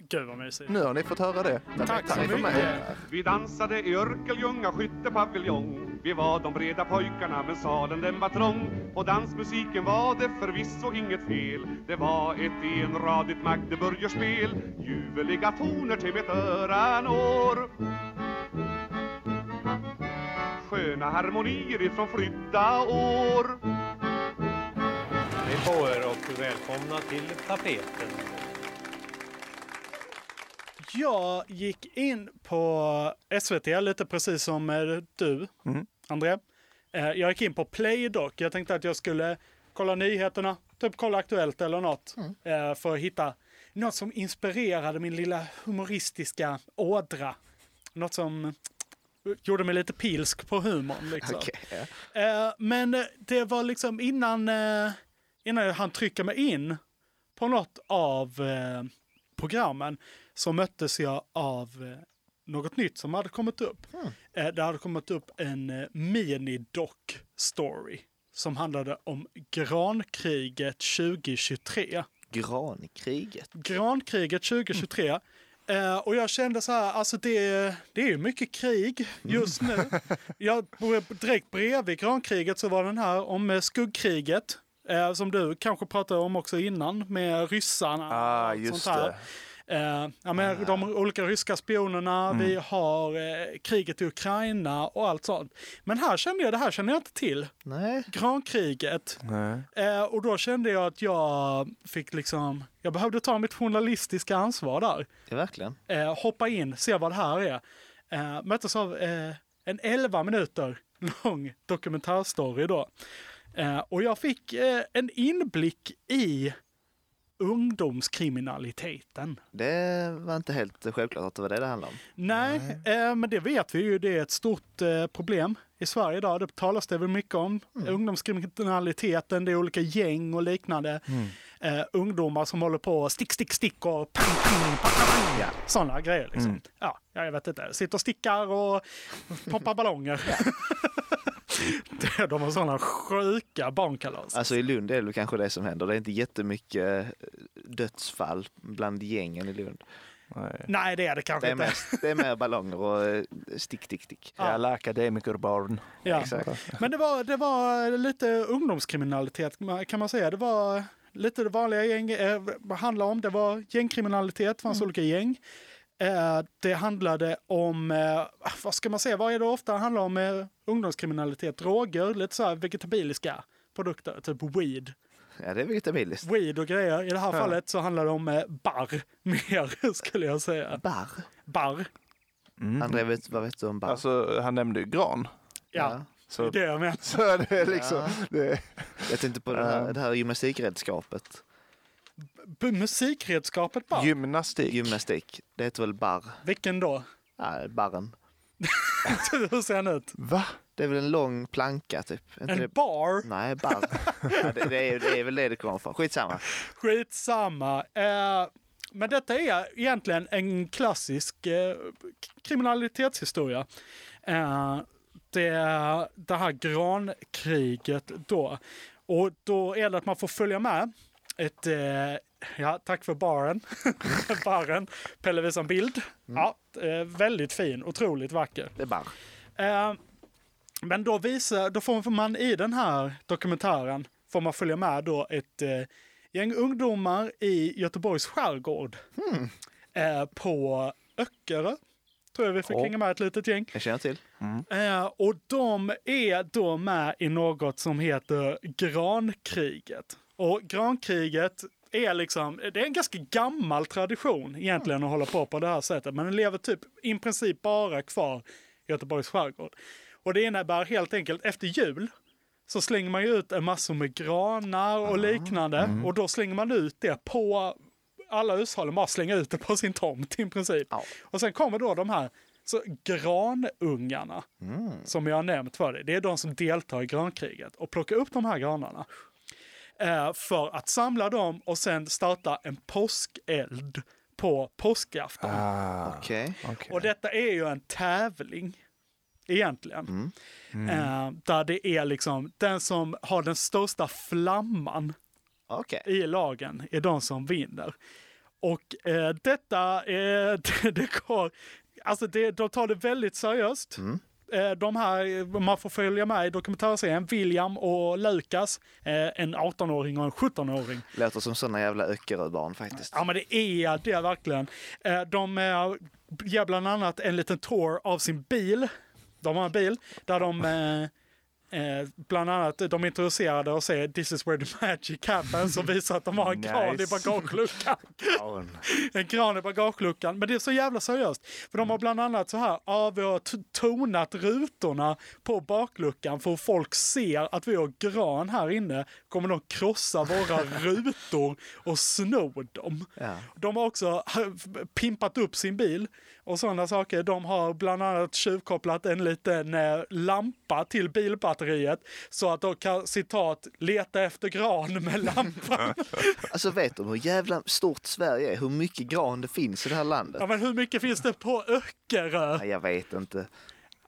[SPEAKER 2] Gud vad mysigt.
[SPEAKER 5] Nu har ni fått höra det.
[SPEAKER 2] Tack så mycket.
[SPEAKER 14] Vi dansade i Örkelljunga skyttepaviljong. Vi var de breda pojkarna men salen den var trång. På dansmusiken var det förvisso inget fel. Det var ett enradigt Magdeburgerspel. Ljuvliga toner till mitt öra når. Sköna harmonier ifrån flydda år.
[SPEAKER 15] Hej på er och välkomna till tapeten.
[SPEAKER 2] Jag gick in på SVT lite precis som eh, du, André. Eh, Jag gick in på Playdoc. Jag tänkte att jag skulle kolla nyheterna, typ kolla Aktuellt eller något. eh, För att hitta något som inspirerade min lilla humoristiska ådra. Något som eh, gjorde mig lite pilsk på humorn. Liksom.
[SPEAKER 4] Okej.
[SPEAKER 2] Eh, Men eh, det var liksom innan, eh, innan han trycker mig in på något av eh, programmen så möttes jag av eh, något nytt som hade kommit upp. Eh, Det hade kommit upp en eh, mini-doc-story som handlade om grankriget 2023.
[SPEAKER 4] Grankriget.
[SPEAKER 2] Grankriget 2023.
[SPEAKER 5] Mm.
[SPEAKER 2] Eh, och jag kände så här, alltså det, det är ju mycket krig just nu.
[SPEAKER 5] Mm. <laughs>
[SPEAKER 2] Jag, direkt bredvid grankriget så var den här om eh, skuggkriget. Eh, som du kanske pratade om också innan med ryssarna.
[SPEAKER 5] Ah,
[SPEAKER 2] och
[SPEAKER 5] just
[SPEAKER 2] sånt här.
[SPEAKER 5] det. Ah. Mm.
[SPEAKER 2] Eh, ja, men De olika ryska spionerna, vi har eh, kriget i Ukraina och allt sånt. Men här kände jag, det här känner jag inte till.
[SPEAKER 4] Nej.
[SPEAKER 2] Grankriget.
[SPEAKER 5] Nej.
[SPEAKER 2] Eh, och då kände jag att jag fick liksom, jag behövde ta mitt journalistiska ansvar där.
[SPEAKER 4] Ja, verkligen.
[SPEAKER 2] Eh, hoppa in, se vad det här är. Eh, möttes av eh, en 11 minuter lång dokumentärstory då. Eh, och jag fick eh, en inblick i ungdomskriminaliteten.
[SPEAKER 4] Det var inte helt självklart att det var det det handlade om.
[SPEAKER 2] Nej, Eh, men det vet vi ju. Det är ett stort eh, problem i Sverige idag. Det talas det väl mycket om.
[SPEAKER 4] Mm.
[SPEAKER 2] Ungdomskriminaliteten, det är olika gäng och liknande.
[SPEAKER 4] Mm.
[SPEAKER 2] Eh, ungdomar som håller på och stick, stick, stick och pang, pang, pang, pang. Sådana grejer liksom.
[SPEAKER 9] Mm.
[SPEAKER 2] Ja, jag vet inte. Sitter och stickar och poppar ballonger. Det- <laughs> De har sådana sjuka barnkalas.
[SPEAKER 4] Alltså i Lund är det väl kanske det som händer. Det är inte jättemycket eh, dödsfall bland gängen i Lund.
[SPEAKER 2] Nej, det är det kanske
[SPEAKER 4] Det är
[SPEAKER 2] inte.
[SPEAKER 4] mer, det är mer ballonger och eh, stick, stick, stick.
[SPEAKER 2] Ja. Jävla
[SPEAKER 5] akademikerbarn.
[SPEAKER 2] Ja. <laughs>
[SPEAKER 4] Exakt.
[SPEAKER 2] Men det var, det var lite ungdomskriminalitet kan man säga. Det var
[SPEAKER 4] Mm.
[SPEAKER 2] lite det vanliga gäng eh, vad handlar om. Det var gängkriminalitet, fanns olika gäng. Eh, Det handlade om, eh, vad ska man säga, vad är det ofta det handlar om? eh, Ungdomskriminalitet, droger, lite så här vegetabiliska produkter, typ weed.
[SPEAKER 4] Ja, det är vegetabiliskt.
[SPEAKER 2] Weed och grejer. I det här
[SPEAKER 4] Ja.
[SPEAKER 2] fallet så handlar det om eh, barr <laughs> mer, skulle jag säga.
[SPEAKER 4] Barr?
[SPEAKER 2] Barr,
[SPEAKER 4] André, vet, vad vet du om barr?
[SPEAKER 5] Alltså, han nämnde ju gran.
[SPEAKER 2] ja.
[SPEAKER 5] Så-
[SPEAKER 2] Det är det jag menar.
[SPEAKER 5] Så är det liksom... Det,
[SPEAKER 4] Jag tänkte på det här, det här gymnastikredskapet.
[SPEAKER 2] B- musikredskapet barr.
[SPEAKER 5] Gymnastik. <laughs>
[SPEAKER 4] Gymnastik. Det heter väl barr?
[SPEAKER 2] Vilken då? <laughs>
[SPEAKER 4] Nej, barren.
[SPEAKER 2] Hur ser han ut?
[SPEAKER 5] Va?
[SPEAKER 4] Det är väl en lång planka typ? Är inte
[SPEAKER 2] En
[SPEAKER 4] det...
[SPEAKER 2] bar?
[SPEAKER 4] Nej, barr. ja, det, det, är, det är väl det det kommer från. Skitsamma.
[SPEAKER 2] Skitsamma. Eh, men detta är egentligen en klassisk eh, k- kriminalitetshistoria. Eh, det, det här grankriget då. Och då är det att man får följa med ett... Eh, ja, tack för baren. <laughs> baren. Pelle visar en bild. Ja, eh, väldigt fin. Otroligt vacker.
[SPEAKER 4] Det är barr.
[SPEAKER 2] Eh, men då, visar, då får man i den här dokumentären får man följa med då ett eh, gäng ungdomar i Göteborgs skärgård. Eh, på Öckerö, tror jag vi fick
[SPEAKER 4] Ja.
[SPEAKER 2] hänga med ett litet gäng.
[SPEAKER 4] Jag känner till.
[SPEAKER 2] Eh, och de är då med i något som heter grankriget. Och grankriget är liksom, det är en ganska gammal tradition egentligen att hålla på på det här sättet. Men den lever typ i princip bara kvar i Göteborgs skärgård. Och det innebär helt enkelt efter jul så slänger man ju ut en massa med granar och liknande. Och då slänger man ut det på alla hushållen bara slänga ut det på sin tomt i princip. Och sen kommer då de här så granungarna som jag har nämnt för dig. Det är de som deltar i grankriget och plockar upp de här granarna eh, för att samla dem och sen starta en påskeld på påskafton. Ah,
[SPEAKER 4] Okej.
[SPEAKER 2] Och detta är ju en tävling egentligen. Eh, där det är liksom den som har den största flamman i lagen är de som vinner. Och eh, detta, eh, <laughs> det, det går, alltså det, de tar det väldigt seriöst. Eh, de här, eh, man får följa med i dokumentärserien, William och Lukas, eh, en 18-åring och en 17-åring.
[SPEAKER 4] Låter som såna jävla Öckeröbarn faktiskt.
[SPEAKER 2] Ja men det är det verkligen. Eh, De eh, ger bland annat en liten tour av sin bil. De har en bil där de eh, eh, bland annat de är intresserade och säger this is where the magic happens och visar att de har en gran i
[SPEAKER 4] Nice.
[SPEAKER 2] bagageluckan. <laughs> en gran i bagageluckan. Men det är så jävla seriöst. För de har bland annat så här, ja vi har t- tonat rutorna på bakluckan för att folk ser att vi har gran här inne. Kommer de krossa våra rutor och sno dem.
[SPEAKER 4] Ja.
[SPEAKER 2] De har också <laughs> pimpat upp sin bil och sådana saker. De har bland annat tjuvkopplat en liten eh, lampa till bilbatteriet så att de kan, citat, leta efter gran med lampan.
[SPEAKER 4] Alltså vet de hur jävla stort Sverige är? Hur mycket gran det finns i det här landet?
[SPEAKER 2] ja, men hur mycket finns det på Öckerö?
[SPEAKER 4] Ja, jag vet inte.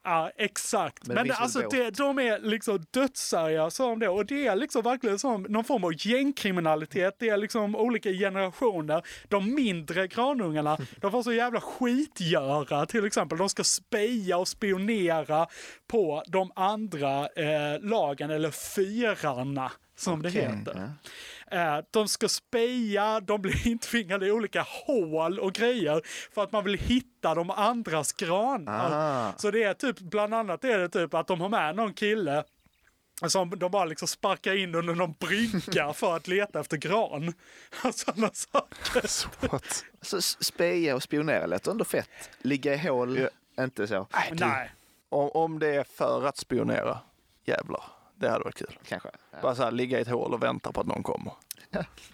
[SPEAKER 2] Ja, exakt.
[SPEAKER 4] Men
[SPEAKER 2] Men,
[SPEAKER 4] det
[SPEAKER 2] det,
[SPEAKER 4] finns väl
[SPEAKER 2] alltså,
[SPEAKER 4] båt?
[SPEAKER 2] det, de är liksom dödsseriösa om det. Och det är liksom verkligen som någon form av gängkriminalitet. Det är liksom olika generationer. De mindre granungarna, de får så jävla skitgöra till exempel. De ska speja och spionera på de andra eh, lagen, eller fyrarna som det heter. Eh, De ska speja, de blir <laughs> intvingade i olika hål och grejer för att man vill hitta de andras granar.
[SPEAKER 4] Ah.
[SPEAKER 2] Så det är typ, bland annat är det typ att de har med någon kille som de bara liksom sparkar in under någon
[SPEAKER 5] <laughs>
[SPEAKER 2] brygga för att leta efter gran. <laughs> Och Sådana saker.
[SPEAKER 4] Alltså s- speja och spionera låter ändå fett. Ligga i hål, inte så.
[SPEAKER 2] Nej.
[SPEAKER 5] Om, om det är för att spionera, jävlar. Det hade varit kul.
[SPEAKER 4] Kanske.
[SPEAKER 5] Bara så här, ligga i ett hål och vänta på att någon <laughs> kommer.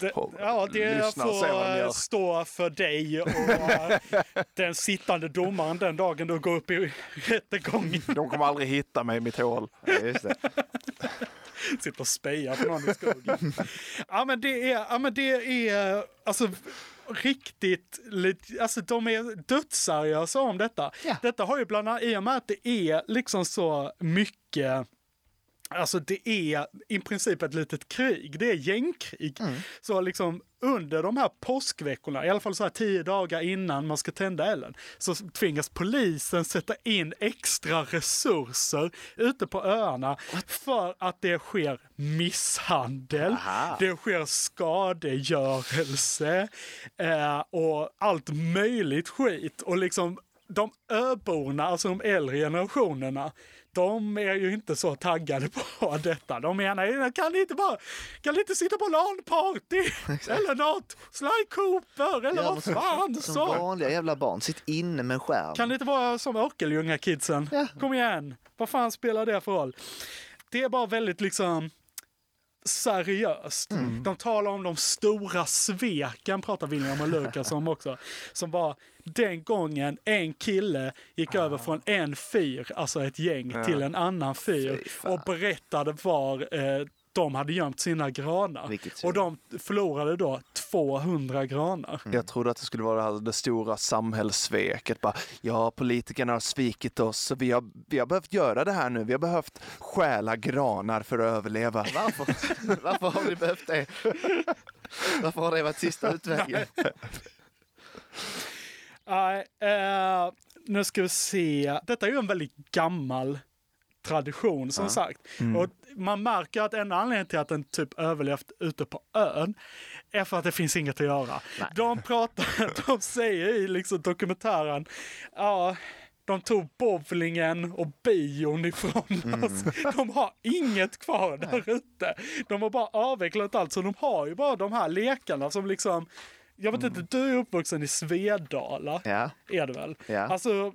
[SPEAKER 2] Det, ja, det
[SPEAKER 5] Lyssna och se vad de
[SPEAKER 2] får
[SPEAKER 5] gör.
[SPEAKER 2] eh, stå för dig och
[SPEAKER 5] <laughs>
[SPEAKER 2] eh, den sittande domaren den dagen du går upp i rättegången.
[SPEAKER 5] De kommer aldrig hitta mig i mitt hål.
[SPEAKER 4] just det.
[SPEAKER 2] <laughs> Sitter och spejar på någon i skogen. Ja men det är, ja, men det är alltså riktigt, lit- alltså de är dödsseriösa om detta. Detta har ju bland annat, i och med att det är liksom så mycket Alltså det är i princip ett litet krig, det är gängkrig. Så liksom under de här påskveckorna, i alla fall så här tio dagar innan man ska tända elden, så tvingas polisen sätta in extra resurser ute på öarna för att det sker misshandel, det sker skadegörelse eh, och allt möjligt skit. Och liksom de öborna, alltså de äldre generationerna, de är ju inte så taggade på <laughs> detta. De menar ju, kan ni inte bara, kan ni inte sitta på
[SPEAKER 4] <laughs>
[SPEAKER 2] LAN-party eller något? Sly Cooper eller
[SPEAKER 4] Ja, men
[SPEAKER 2] vad fan
[SPEAKER 4] som
[SPEAKER 2] så?
[SPEAKER 4] vanliga jävla barn, sitt inne med en skärm.
[SPEAKER 2] Kan det inte vara som Örkeljunga-kidsen? Kom igen, vad fan spelar det för roll? Det är bara väldigt liksom seriöst. De talar om de stora sveken, pratar William och Lukas om också. Som var den gången en kille gick över från en fyr, alltså ett gäng,
[SPEAKER 4] Ja.
[SPEAKER 2] till en annan fyr och berättade var eh, de hade gömt sina granar. Och de förlorade då 200 granar.
[SPEAKER 4] Mm.
[SPEAKER 5] Jag trodde att det skulle vara det, här, det stora samhällssveket. Bara, ja, politikerna har svikit oss så vi har, vi har behövt göra det här nu. Vi har behövt stjäla granar för att överleva.
[SPEAKER 4] Varför, <laughs> varför har vi behövt det? Varför har det varit sista
[SPEAKER 2] <laughs>
[SPEAKER 4] utvägen?
[SPEAKER 2] Nej, eh, nu ska vi se. Detta är ju en väldigt gammal tradition som
[SPEAKER 9] Ja.
[SPEAKER 2] sagt.
[SPEAKER 9] Mm.
[SPEAKER 2] Och man märker att en anledning till att den typ överlevt ute på ön är för att det finns inget att göra.
[SPEAKER 9] <laughs>
[SPEAKER 2] De pratar, de säger i liksom dokumentären, ja, de tog bowlingen och bion ifrån
[SPEAKER 9] Mm.
[SPEAKER 2] oss. De har inget kvar där ute. De har bara avvecklat allt, så de har ju bara de här lekarna som liksom, jag
[SPEAKER 9] Mm.
[SPEAKER 2] vet inte, du är uppvuxen i Svedala,
[SPEAKER 4] Ja.
[SPEAKER 2] är det väl?
[SPEAKER 4] Ja.
[SPEAKER 2] Alltså,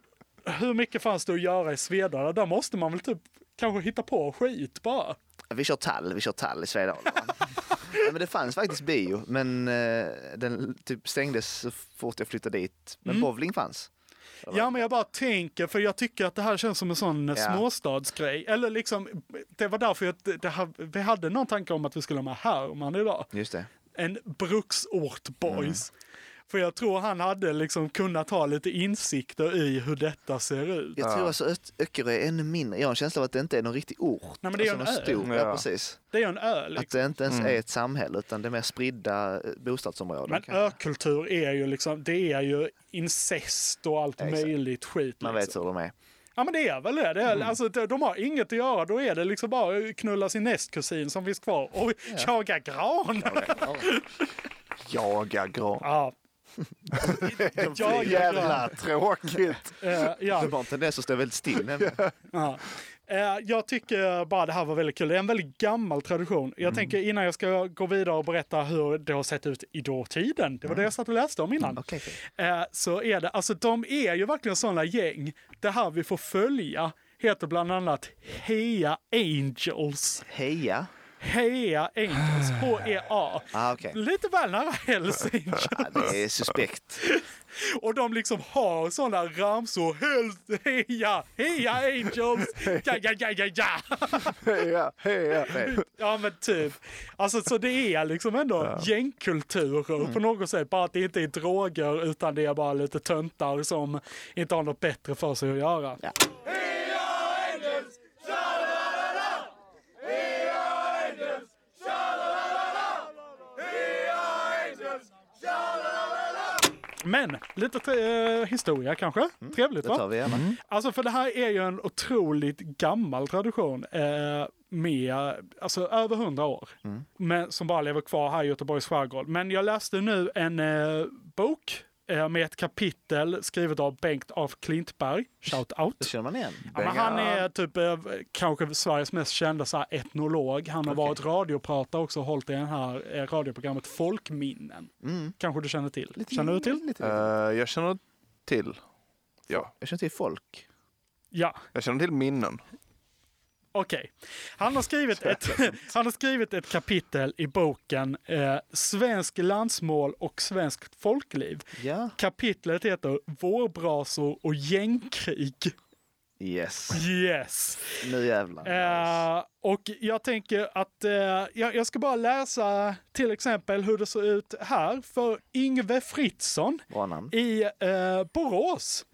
[SPEAKER 2] hur mycket fanns det att göra i Svedala? Där måste man väl typ kanske hitta på skit bara.
[SPEAKER 4] Vi kör tall, vi kör tall
[SPEAKER 2] <laughs>
[SPEAKER 4] i Svedala. Nej, men det fanns faktiskt bio, men eh, den typ stängdes så fort jag flyttade dit. Men
[SPEAKER 2] Mm.
[SPEAKER 4] bowling fanns.
[SPEAKER 2] Ja, men jag bara tänker, för jag tycker att det här känns som en sån eh,
[SPEAKER 4] Ja.
[SPEAKER 2] småstadsgrej. Eller liksom, det var därför jag, det här, vi hade någon tanke om att vi skulle ha med Herman idag.
[SPEAKER 4] Just det.
[SPEAKER 2] En bruksort boys.
[SPEAKER 4] Mm.
[SPEAKER 2] För jag tror han hade liksom kunnat ha lite insikter i hur detta ser ut.
[SPEAKER 4] Jag tror alltså Ö- Öckerö är ännu mindre. Jag har en känsla av att det inte är någon riktig ort. Nej,
[SPEAKER 2] men det är ju
[SPEAKER 4] alltså
[SPEAKER 2] en
[SPEAKER 4] någon
[SPEAKER 2] ö.
[SPEAKER 4] stor-
[SPEAKER 2] Ja.
[SPEAKER 4] Ja, precis.
[SPEAKER 2] Det är en ö. Liksom.
[SPEAKER 4] Att det inte ens
[SPEAKER 2] Mm.
[SPEAKER 4] är ett samhälle utan det är mer spridda eh, bostadsområden.
[SPEAKER 2] Men
[SPEAKER 4] kanske.
[SPEAKER 2] ökultur är ju liksom, det är ju incest och allt
[SPEAKER 4] Exakt.
[SPEAKER 2] möjligt skit. liksom.
[SPEAKER 4] Man vet hur de är.
[SPEAKER 2] Ja men det är väl det. det
[SPEAKER 4] Mm.
[SPEAKER 2] är, alltså, de de har inget att göra. Då är det liksom bara att knulla sin nästkusin som finns kvar och jaga gran.
[SPEAKER 5] Jaga gran.
[SPEAKER 4] <laughs>
[SPEAKER 2] Ja. Jaga
[SPEAKER 4] Jävla
[SPEAKER 2] gran.
[SPEAKER 5] <laughs> tråkigt!
[SPEAKER 2] Eh, ja.
[SPEAKER 4] Det var en tendens att stå
[SPEAKER 2] <laughs>
[SPEAKER 4] väldigt still nämligen.
[SPEAKER 2] Ja. Eh, Jag tycker bara det här var väldigt kul. Det är en väldigt gammal tradition.
[SPEAKER 4] Mm.
[SPEAKER 2] Jag tänker innan jag ska gå vidare och berätta hur det har sett ut i dåtiden. Det var
[SPEAKER 4] Mm.
[SPEAKER 2] det jag satt och läste om innan. Eh, Så är det, alltså de är ju verkligen sådana gäng. Det här vi får följa heter bland annat Heja Angels.
[SPEAKER 4] Heja?
[SPEAKER 2] Heja Angels, H-E-A.
[SPEAKER 4] Ah, okej.
[SPEAKER 2] E Lite väl nära Hells Angels.
[SPEAKER 4] <laughs> Det är suspekt.
[SPEAKER 2] Och de liksom har sådana ramsor. Hel- Heja, heja angels! Ja, ja, ja, ja, ja!
[SPEAKER 5] Heja, heja!
[SPEAKER 2] Ja men typ. Alltså så det är liksom ändå gängkulturer på
[SPEAKER 4] Mm.
[SPEAKER 2] något sätt. Bara att det inte är droger utan det är bara lite töntar som inte har något bättre för sig att göra. Men lite eh, historia kanske. Trevligt
[SPEAKER 4] det
[SPEAKER 2] va?
[SPEAKER 4] tar vi gärna. Mm.
[SPEAKER 2] Alltså för det här är ju en otroligt gammal tradition. Eh, med, alltså över hundra år. Men, som bara lever kvar här i Göteborgs skärgård. Men jag läste nu en eh, bok eh, med ett kapitel skrivet av Bengt af Klintberg. Shout out.
[SPEAKER 4] Det känner man igen.
[SPEAKER 2] Ja, men han är typ eh, kanske Sveriges mest kända så här, etnolog. Han har varit radiopratare också och hållit i det här eh, radioprogrammet Folkminnen. Kanske du känner till? känner du till?
[SPEAKER 5] Eh, jag känner till. Ja.
[SPEAKER 4] Jag känner till folk.
[SPEAKER 2] Ja.
[SPEAKER 5] Jag känner till minnen.
[SPEAKER 2] Okej. Han, har skrivit ett- <laughs> han har skrivit ett kapitel i boken eh, Svensk landsmål och svenskt folkliv.
[SPEAKER 4] Ja.
[SPEAKER 2] Kapitlet heter Vårbrasor och gängkrig.
[SPEAKER 4] Yes.
[SPEAKER 2] Yes.
[SPEAKER 4] Nu jävlar.
[SPEAKER 2] Eh, och jag tänker att eh, jag, jag ska bara läsa till exempel hur det såg ut här för Yngve Fritzson
[SPEAKER 4] Bra namn.
[SPEAKER 2] i eh, Borås.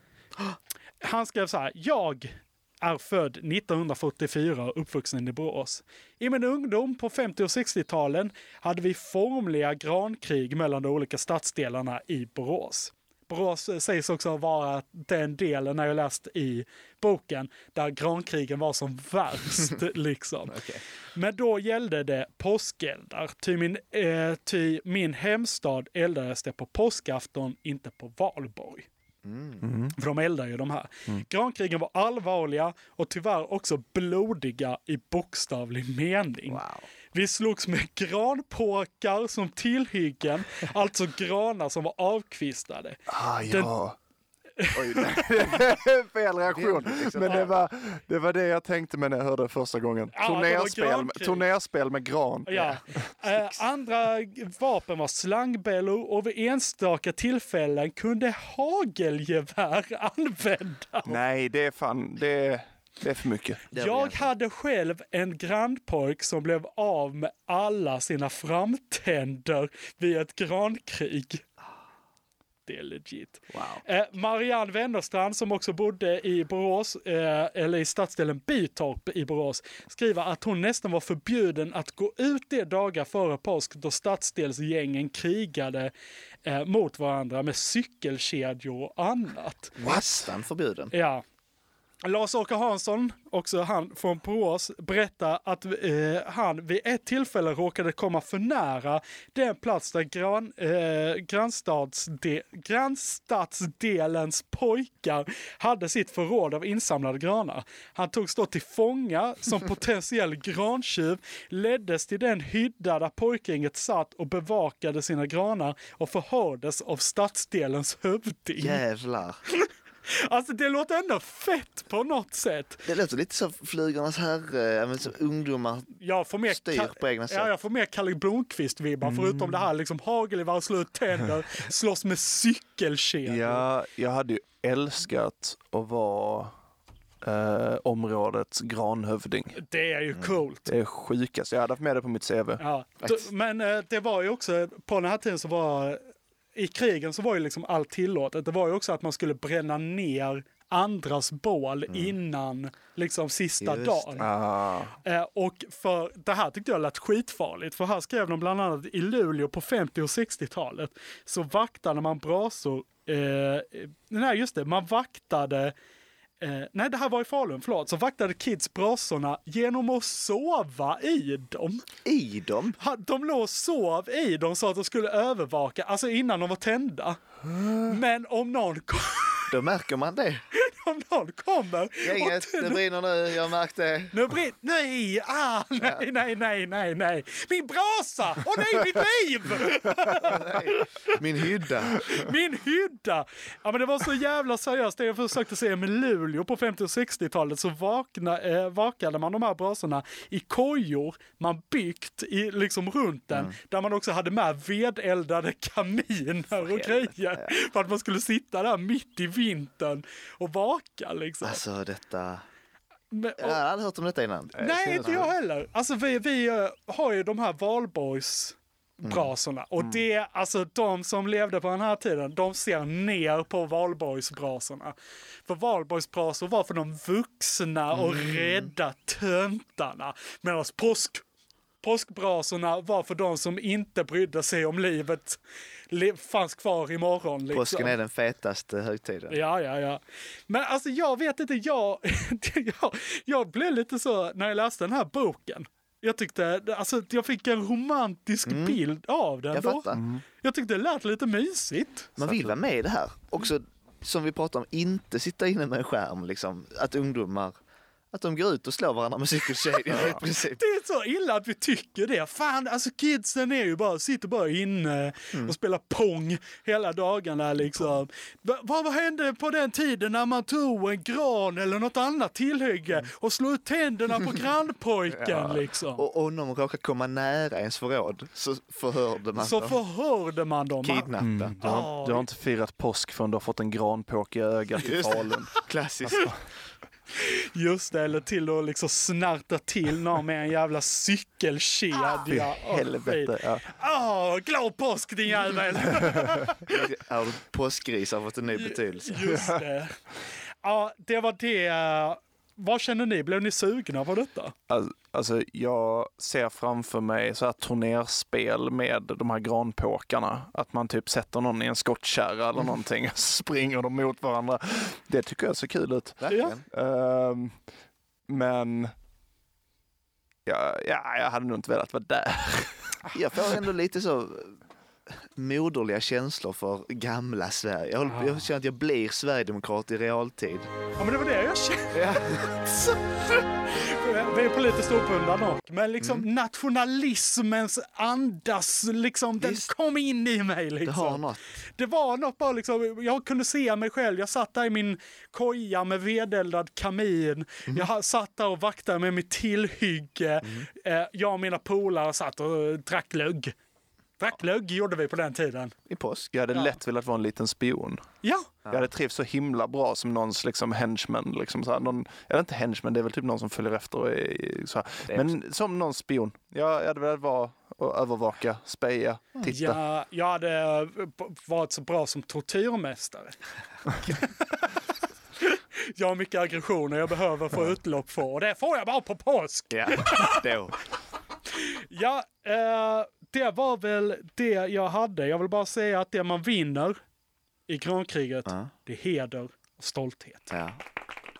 [SPEAKER 2] Han skrev så här, jag, är född 1944 och uppvuxen i Borås. I min ungdom på 50 och 60-talen hade vi formliga grankrig mellan de olika stadsdelarna i Borås. Borås eh, sägs också vara den delen, när jag läst i boken, där grankrigen var som värst. liksom. Men då gällde det påskeldar, ty min, eh, ty min hemstad eldades det på påskafton, inte på valborg. För de eldar ju de här. Grankrigen var allvarliga och tyvärr också blodiga i bokstavlig mening. Vi slogs med granpåkar som tillhyggen, alltså granar som var avkvistade.
[SPEAKER 5] Ah,
[SPEAKER 2] Den
[SPEAKER 5] ja. Oj, nej. <laughs> Fel reaktion.
[SPEAKER 2] liksom-
[SPEAKER 5] Men det var, det var det jag tänkte med när jag hörde det första gången.
[SPEAKER 2] Ja, det var
[SPEAKER 5] Turnerspel,
[SPEAKER 2] grankrig.
[SPEAKER 5] turnerspel med gran.
[SPEAKER 2] Ja. Eh, andra vapen var slangbällor och vid enstaka tillfällen kunde hagelgevär <laughs> användas.
[SPEAKER 5] Nej, det är fan, det, det är för mycket.
[SPEAKER 2] Jag hade själv en grannpojk som blev av med alla sina framtänder vid ett grankrig. Det är legit. Eh, Marianne Wennerstrand, som också bodde i Borås, eh, eller i stadsdelen Bytorp i Borås, skriver att hon nästan var förbjuden att gå ut de dagar före påsk då stadsdelsgängen krigade eh, mot varandra med cykelkedjor och annat.
[SPEAKER 4] Nästan förbjuden.
[SPEAKER 2] Ja. Lars-Åke Hansson, också han från Borås, berättar att eh, han vid ett tillfälle råkade komma för nära den plats där gran, eh, grannstadsde, grannstadsdelens pojkar hade sitt förråd av insamlade granar. Han togs då till fånga som potentiell grantjuv, leddes till den hydda där pojkgänget satt och bevakade sina granar och förhördes av stadsdelens hövding.
[SPEAKER 4] Jävlar.
[SPEAKER 2] Alltså det låter ändå fett på något sätt.
[SPEAKER 4] Det låter lite som Flugornas herre, ja, men som ungdomar
[SPEAKER 2] Jag får mer
[SPEAKER 4] styr
[SPEAKER 2] Ka-
[SPEAKER 4] på egna sätt. Mm.
[SPEAKER 2] Ja, jag får mer Kalle Blomkvist-vibbar förutom det här liksom hagelgevär, slå ut
[SPEAKER 4] <laughs>
[SPEAKER 2] tänder, slåss med cykelkedjor.
[SPEAKER 5] Ja, jag hade ju älskat att vara eh, områdets granhövding.
[SPEAKER 2] Det är ju
[SPEAKER 4] Mm.
[SPEAKER 2] coolt.
[SPEAKER 5] Det är sjukast. Jag hade haft med det på mitt CV.
[SPEAKER 2] Ja. Du, Men eh, det var ju också, på den här tiden så var, i krigen så var ju liksom allt tillåtet. Det var ju också att man skulle bränna ner andras bål innan liksom sista dagen.
[SPEAKER 5] Ah.
[SPEAKER 2] Eh, Och för det här tyckte jag lät skitfarligt, för här skrev de bland annat i Luleå på 50 och 60-talet så vaktade man brasor, eh, nej just det, man vaktade Eh, nej, det här var i Falun, förlåt. Så vaktade kids brasorna genom att sova i dem.
[SPEAKER 4] I dem?
[SPEAKER 2] Ha, de låg och sov i dem så att de skulle övervaka, alltså innan de var tända. Men om någon, kom,
[SPEAKER 4] Då märker man det.
[SPEAKER 2] <laughs> om någon kommer
[SPEAKER 4] Gänget, det brinner nu, jag märkte.
[SPEAKER 2] Nu brinner... Nej! Ah, nej, nej, nej, nej, nej! Min brasa! Åh nej, mitt liv! <laughs>
[SPEAKER 4] Min hydda.
[SPEAKER 2] Min hydda! Ja, men det var så jävla seriöst. Det jag försökte säga med Luleå på 50 och 60-talet så vakna, eh, vakade man de här brasorna i kojor man byggt i, liksom runt den. Där man också hade med vedeldade kaminer och grejer. För att man skulle sitta där mitt i vintern och vaka liksom.
[SPEAKER 4] Alltså detta.
[SPEAKER 2] Men- och-
[SPEAKER 4] Jag har aldrig hört om detta innan. Eh,
[SPEAKER 2] Nej, inte jag heller. Alltså vi, vi eh, har ju de här valborgs brasorna.
[SPEAKER 4] Mm.
[SPEAKER 2] Och det, alltså de som levde på den här tiden, de ser ner på valborgsbrasorna. För valborgsbrasor var för de vuxna och
[SPEAKER 4] Mm.
[SPEAKER 2] rädda töntarna. Medan påsk, påskbrasorna var för de som inte brydde sig om livet le, fanns kvar imorgon. Liksom.
[SPEAKER 4] Påsken är den fetaste högtiden.
[SPEAKER 2] Ja, ja, ja. Men alltså jag vet inte, jag, <laughs> jag, jag blev lite så när jag läste den här boken. Jag tyckte, alltså jag fick en romantisk bild av den
[SPEAKER 4] Mm. Jag
[SPEAKER 2] då.
[SPEAKER 4] fattar. Mm.
[SPEAKER 2] Jag tyckte det lät lite mysigt.
[SPEAKER 4] Man vill vara med i det här. Också som vi pratade om, inte sitta inne med en skärm. Liksom. Att ungdomar att de går ut och slår varandra med cykelkedjor i princip.
[SPEAKER 2] Det är så illa att vi tycker det. Fan, alltså kidsen är ju bara, sitter bara inne
[SPEAKER 4] Mm.
[SPEAKER 2] och spelar pong hela dagarna liksom. Va, vad, vad hände på den tiden när man tog en gran eller något annat tillhygge
[SPEAKER 4] Mm.
[SPEAKER 2] och slog ut tänderna
[SPEAKER 4] <laughs>
[SPEAKER 2] på grannpojken liksom?
[SPEAKER 4] Och om någon råkar komma nära ens förråd så förhörde man
[SPEAKER 2] Så
[SPEAKER 4] dem.
[SPEAKER 2] förhörde man dem.
[SPEAKER 4] Kidnappa.
[SPEAKER 5] Du har, du har inte firat påsk förrän du har fått en granpåk i ögat i
[SPEAKER 4] Just det.
[SPEAKER 5] Falun.
[SPEAKER 4] Klassiskt.
[SPEAKER 2] Alltså. Just det, eller till att liksom snärta till någon med en jävla
[SPEAKER 5] Fy
[SPEAKER 2] cykelkedja. Åh,
[SPEAKER 5] helvete.
[SPEAKER 2] skit.
[SPEAKER 5] Ja.
[SPEAKER 2] Åh, glad påsk din jävel!
[SPEAKER 4] Ja, och Påskgris har fått en ny betydelse.
[SPEAKER 2] Just det. Ja, det var det Vad känner ni? Blev ni sugna på detta?
[SPEAKER 5] Alltså, alltså, jag ser framför mig så här turnerspel med de här granpåkarna. Att man typ sätter någon i en skottkärra eller någonting och <laughs> springer de mot varandra. Det tycker jag ser kul ut.
[SPEAKER 4] Verkligen.
[SPEAKER 5] Ehm, men ja, ja, jag hade nog inte velat vara där. <laughs>
[SPEAKER 4] Jag får ändå lite så eh, moderliga känslor för gamla Sverige. Jag,
[SPEAKER 2] Ah.
[SPEAKER 4] håller, jag känner att jag blir sverigedemokrat i realtid.
[SPEAKER 2] Ja, men det var det jag kände. <laughs> Vi är politiskt uppundran dock, men liksom nationalismens andas, liksom, den kom in i mig. Liksom. Det
[SPEAKER 4] har något.
[SPEAKER 2] Det var något bara liksom, jag kunde se mig själv. Jag satt där i min koja med vedeldad kamin. Jag ha- satt där och vaktade med mitt tillhygge. Eh, Jag och mina polare satt och eh, drack lugg. Drack lugg gjorde vi på den tiden.
[SPEAKER 5] I påsk. Jag hade lätt velat vara en liten spion.
[SPEAKER 2] Ja.
[SPEAKER 5] Jag hade trivts så himla bra som någons liksom henchman. Liksom så här, någon, eller inte henchman, det är väl typ någon som följer efter. Och är, är så här. Men som någon spion. Jag, jag hade velat vara och övervaka, speja, titta.
[SPEAKER 2] Ja, jag hade eh, b- varit så bra som tortyrmästare. jag har mycket aggressioner jag behöver få utlopp för och det får jag bara på påsk.
[SPEAKER 4] Ja, då.
[SPEAKER 2] Ja, eh, det var väl det jag hade. Jag vill bara säga att det man vinner i grankriget, det är heder och stolthet.
[SPEAKER 4] Ja.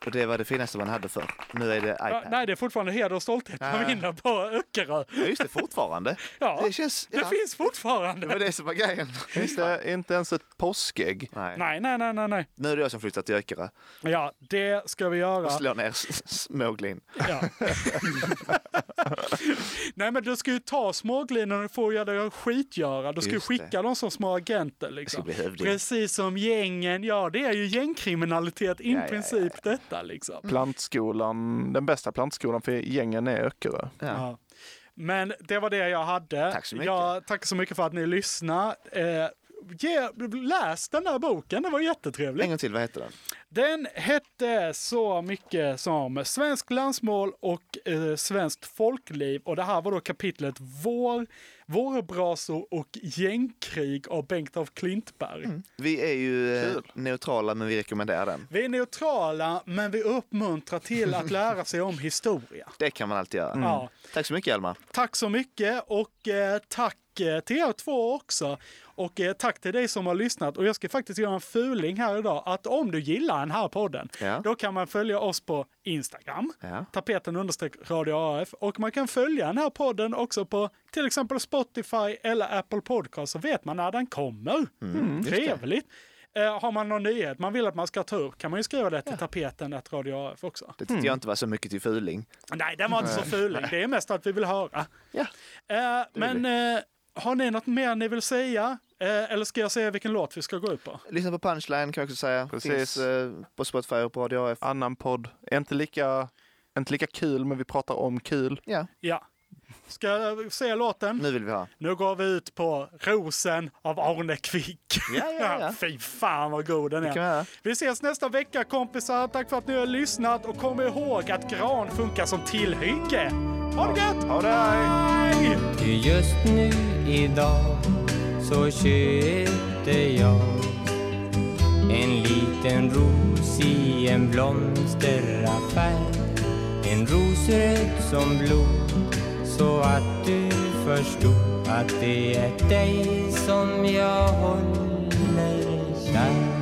[SPEAKER 4] Och det var det finaste man hade för. Nu är det
[SPEAKER 2] Ja,
[SPEAKER 4] iPad.
[SPEAKER 2] nej, det är fortfarande heder och stolthet man
[SPEAKER 4] Ja.
[SPEAKER 2] vinner på Öckerö.
[SPEAKER 4] Ja, just det, fortfarande.
[SPEAKER 2] Ja,
[SPEAKER 4] Det känns-
[SPEAKER 2] det
[SPEAKER 4] ja.
[SPEAKER 2] finns fortfarande.
[SPEAKER 4] Det var det som var grejen.
[SPEAKER 5] Inte, inte ens ett påskägg.
[SPEAKER 2] Nej, nej, nej, nej, nej.
[SPEAKER 4] Nu är det jag som flyttat till Öckerö
[SPEAKER 2] Ja, det ska vi göra.
[SPEAKER 4] och slår ner s- s- Småglin.
[SPEAKER 2] Ja. <laughs> Nej men du ska ju ta småglinorna och få göra det skitgöra. Du ska ju
[SPEAKER 4] Just
[SPEAKER 2] skicka dem som små agenter.
[SPEAKER 4] Jag ska
[SPEAKER 2] Liksom.
[SPEAKER 4] bli hövding.
[SPEAKER 2] Precis som gängen, ja det är ju gängkriminalitet i
[SPEAKER 5] Ja, ja,
[SPEAKER 2] princip detta liksom.
[SPEAKER 5] Plantskolan, den bästa plantskolan för gängen är Öckerö.
[SPEAKER 2] Ja. Men det var det jag hade. Tack
[SPEAKER 5] så mycket.
[SPEAKER 2] Jag tackar så mycket för att ni lyssnade. Eh, ge, läs den här boken, det var jättetrevligt.
[SPEAKER 4] En gång till, vad heter den?
[SPEAKER 2] Den hette så mycket som Svensk landsmål och eh, svenskt folkliv och det här var då kapitlet Vår, Vårbrasor och gängkrig av Bengt af Klintberg.
[SPEAKER 4] Vi är ju eh, neutrala men vi rekommenderar den.
[SPEAKER 2] Vi är neutrala men vi uppmuntrar till att lära sig om historia.
[SPEAKER 4] Det kan man alltid göra.
[SPEAKER 2] Mm. Ja.
[SPEAKER 4] Tack så mycket Hjalmar.
[SPEAKER 2] Tack så mycket och eh, tack eh, till er två också. Och eh, tack till dig som har lyssnat. Och jag ska faktiskt göra en fuling här idag att om du gillar den här podden,
[SPEAKER 4] Ja.
[SPEAKER 2] då kan man följa oss på Instagram,
[SPEAKER 4] Ja.
[SPEAKER 2] tapeten understreck radio AF. Och man kan följa den här podden också på till exempel Spotify eller Apple Podcast så vet man när den kommer. Mm,
[SPEAKER 4] just det.
[SPEAKER 2] trevligt! Eh, har man någon nyhet man vill att man ska ta upp kan man ju skriva det till tapeten att radio AF också.
[SPEAKER 4] Det tyckte jag inte var så mycket till fuling.
[SPEAKER 2] Nej, den var inte så
[SPEAKER 4] Nej.
[SPEAKER 2] fuling. Det är mest att vi vill höra. Eh, men eh, har ni något mer ni vill säga? Eh, eller ska jag säga vilken låt vi ska gå ut på?
[SPEAKER 4] Lyssna på Punchline kan jag också säga.
[SPEAKER 5] Precis.
[SPEAKER 4] Finns eh, på Spotify och på Radio AF.
[SPEAKER 5] Annan podd. Är Inte lika, inte lika kul, men vi pratar om kul.
[SPEAKER 4] Ja.
[SPEAKER 2] Ja. Ska jag säga låten?
[SPEAKER 4] Nu vill vi ha.
[SPEAKER 2] Nu går vi ut på Rosen av Arne Kvick.
[SPEAKER 4] Ja, ja, ja.
[SPEAKER 2] <laughs> Fy fan vad god den
[SPEAKER 4] Det kan vi
[SPEAKER 2] är.
[SPEAKER 4] göra.
[SPEAKER 2] Vi ses nästa vecka kompisar. Tack för att ni har lyssnat och kom ihåg att gran funkar som tillhygge. Ha det gött!
[SPEAKER 5] Ha det!
[SPEAKER 2] Hej!
[SPEAKER 16] Ty just nu idag så köpte jag en liten ros i en blomsteraffär. En ros röd som blod så att du förstod att det är dig som jag håller kär.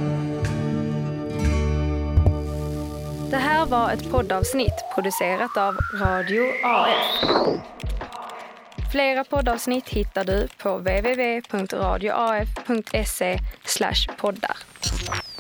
[SPEAKER 1] Det här var ett poddavsnitt producerat av Radio AF. Flera poddavsnitt hittar du på www.radioaf.se E poddar.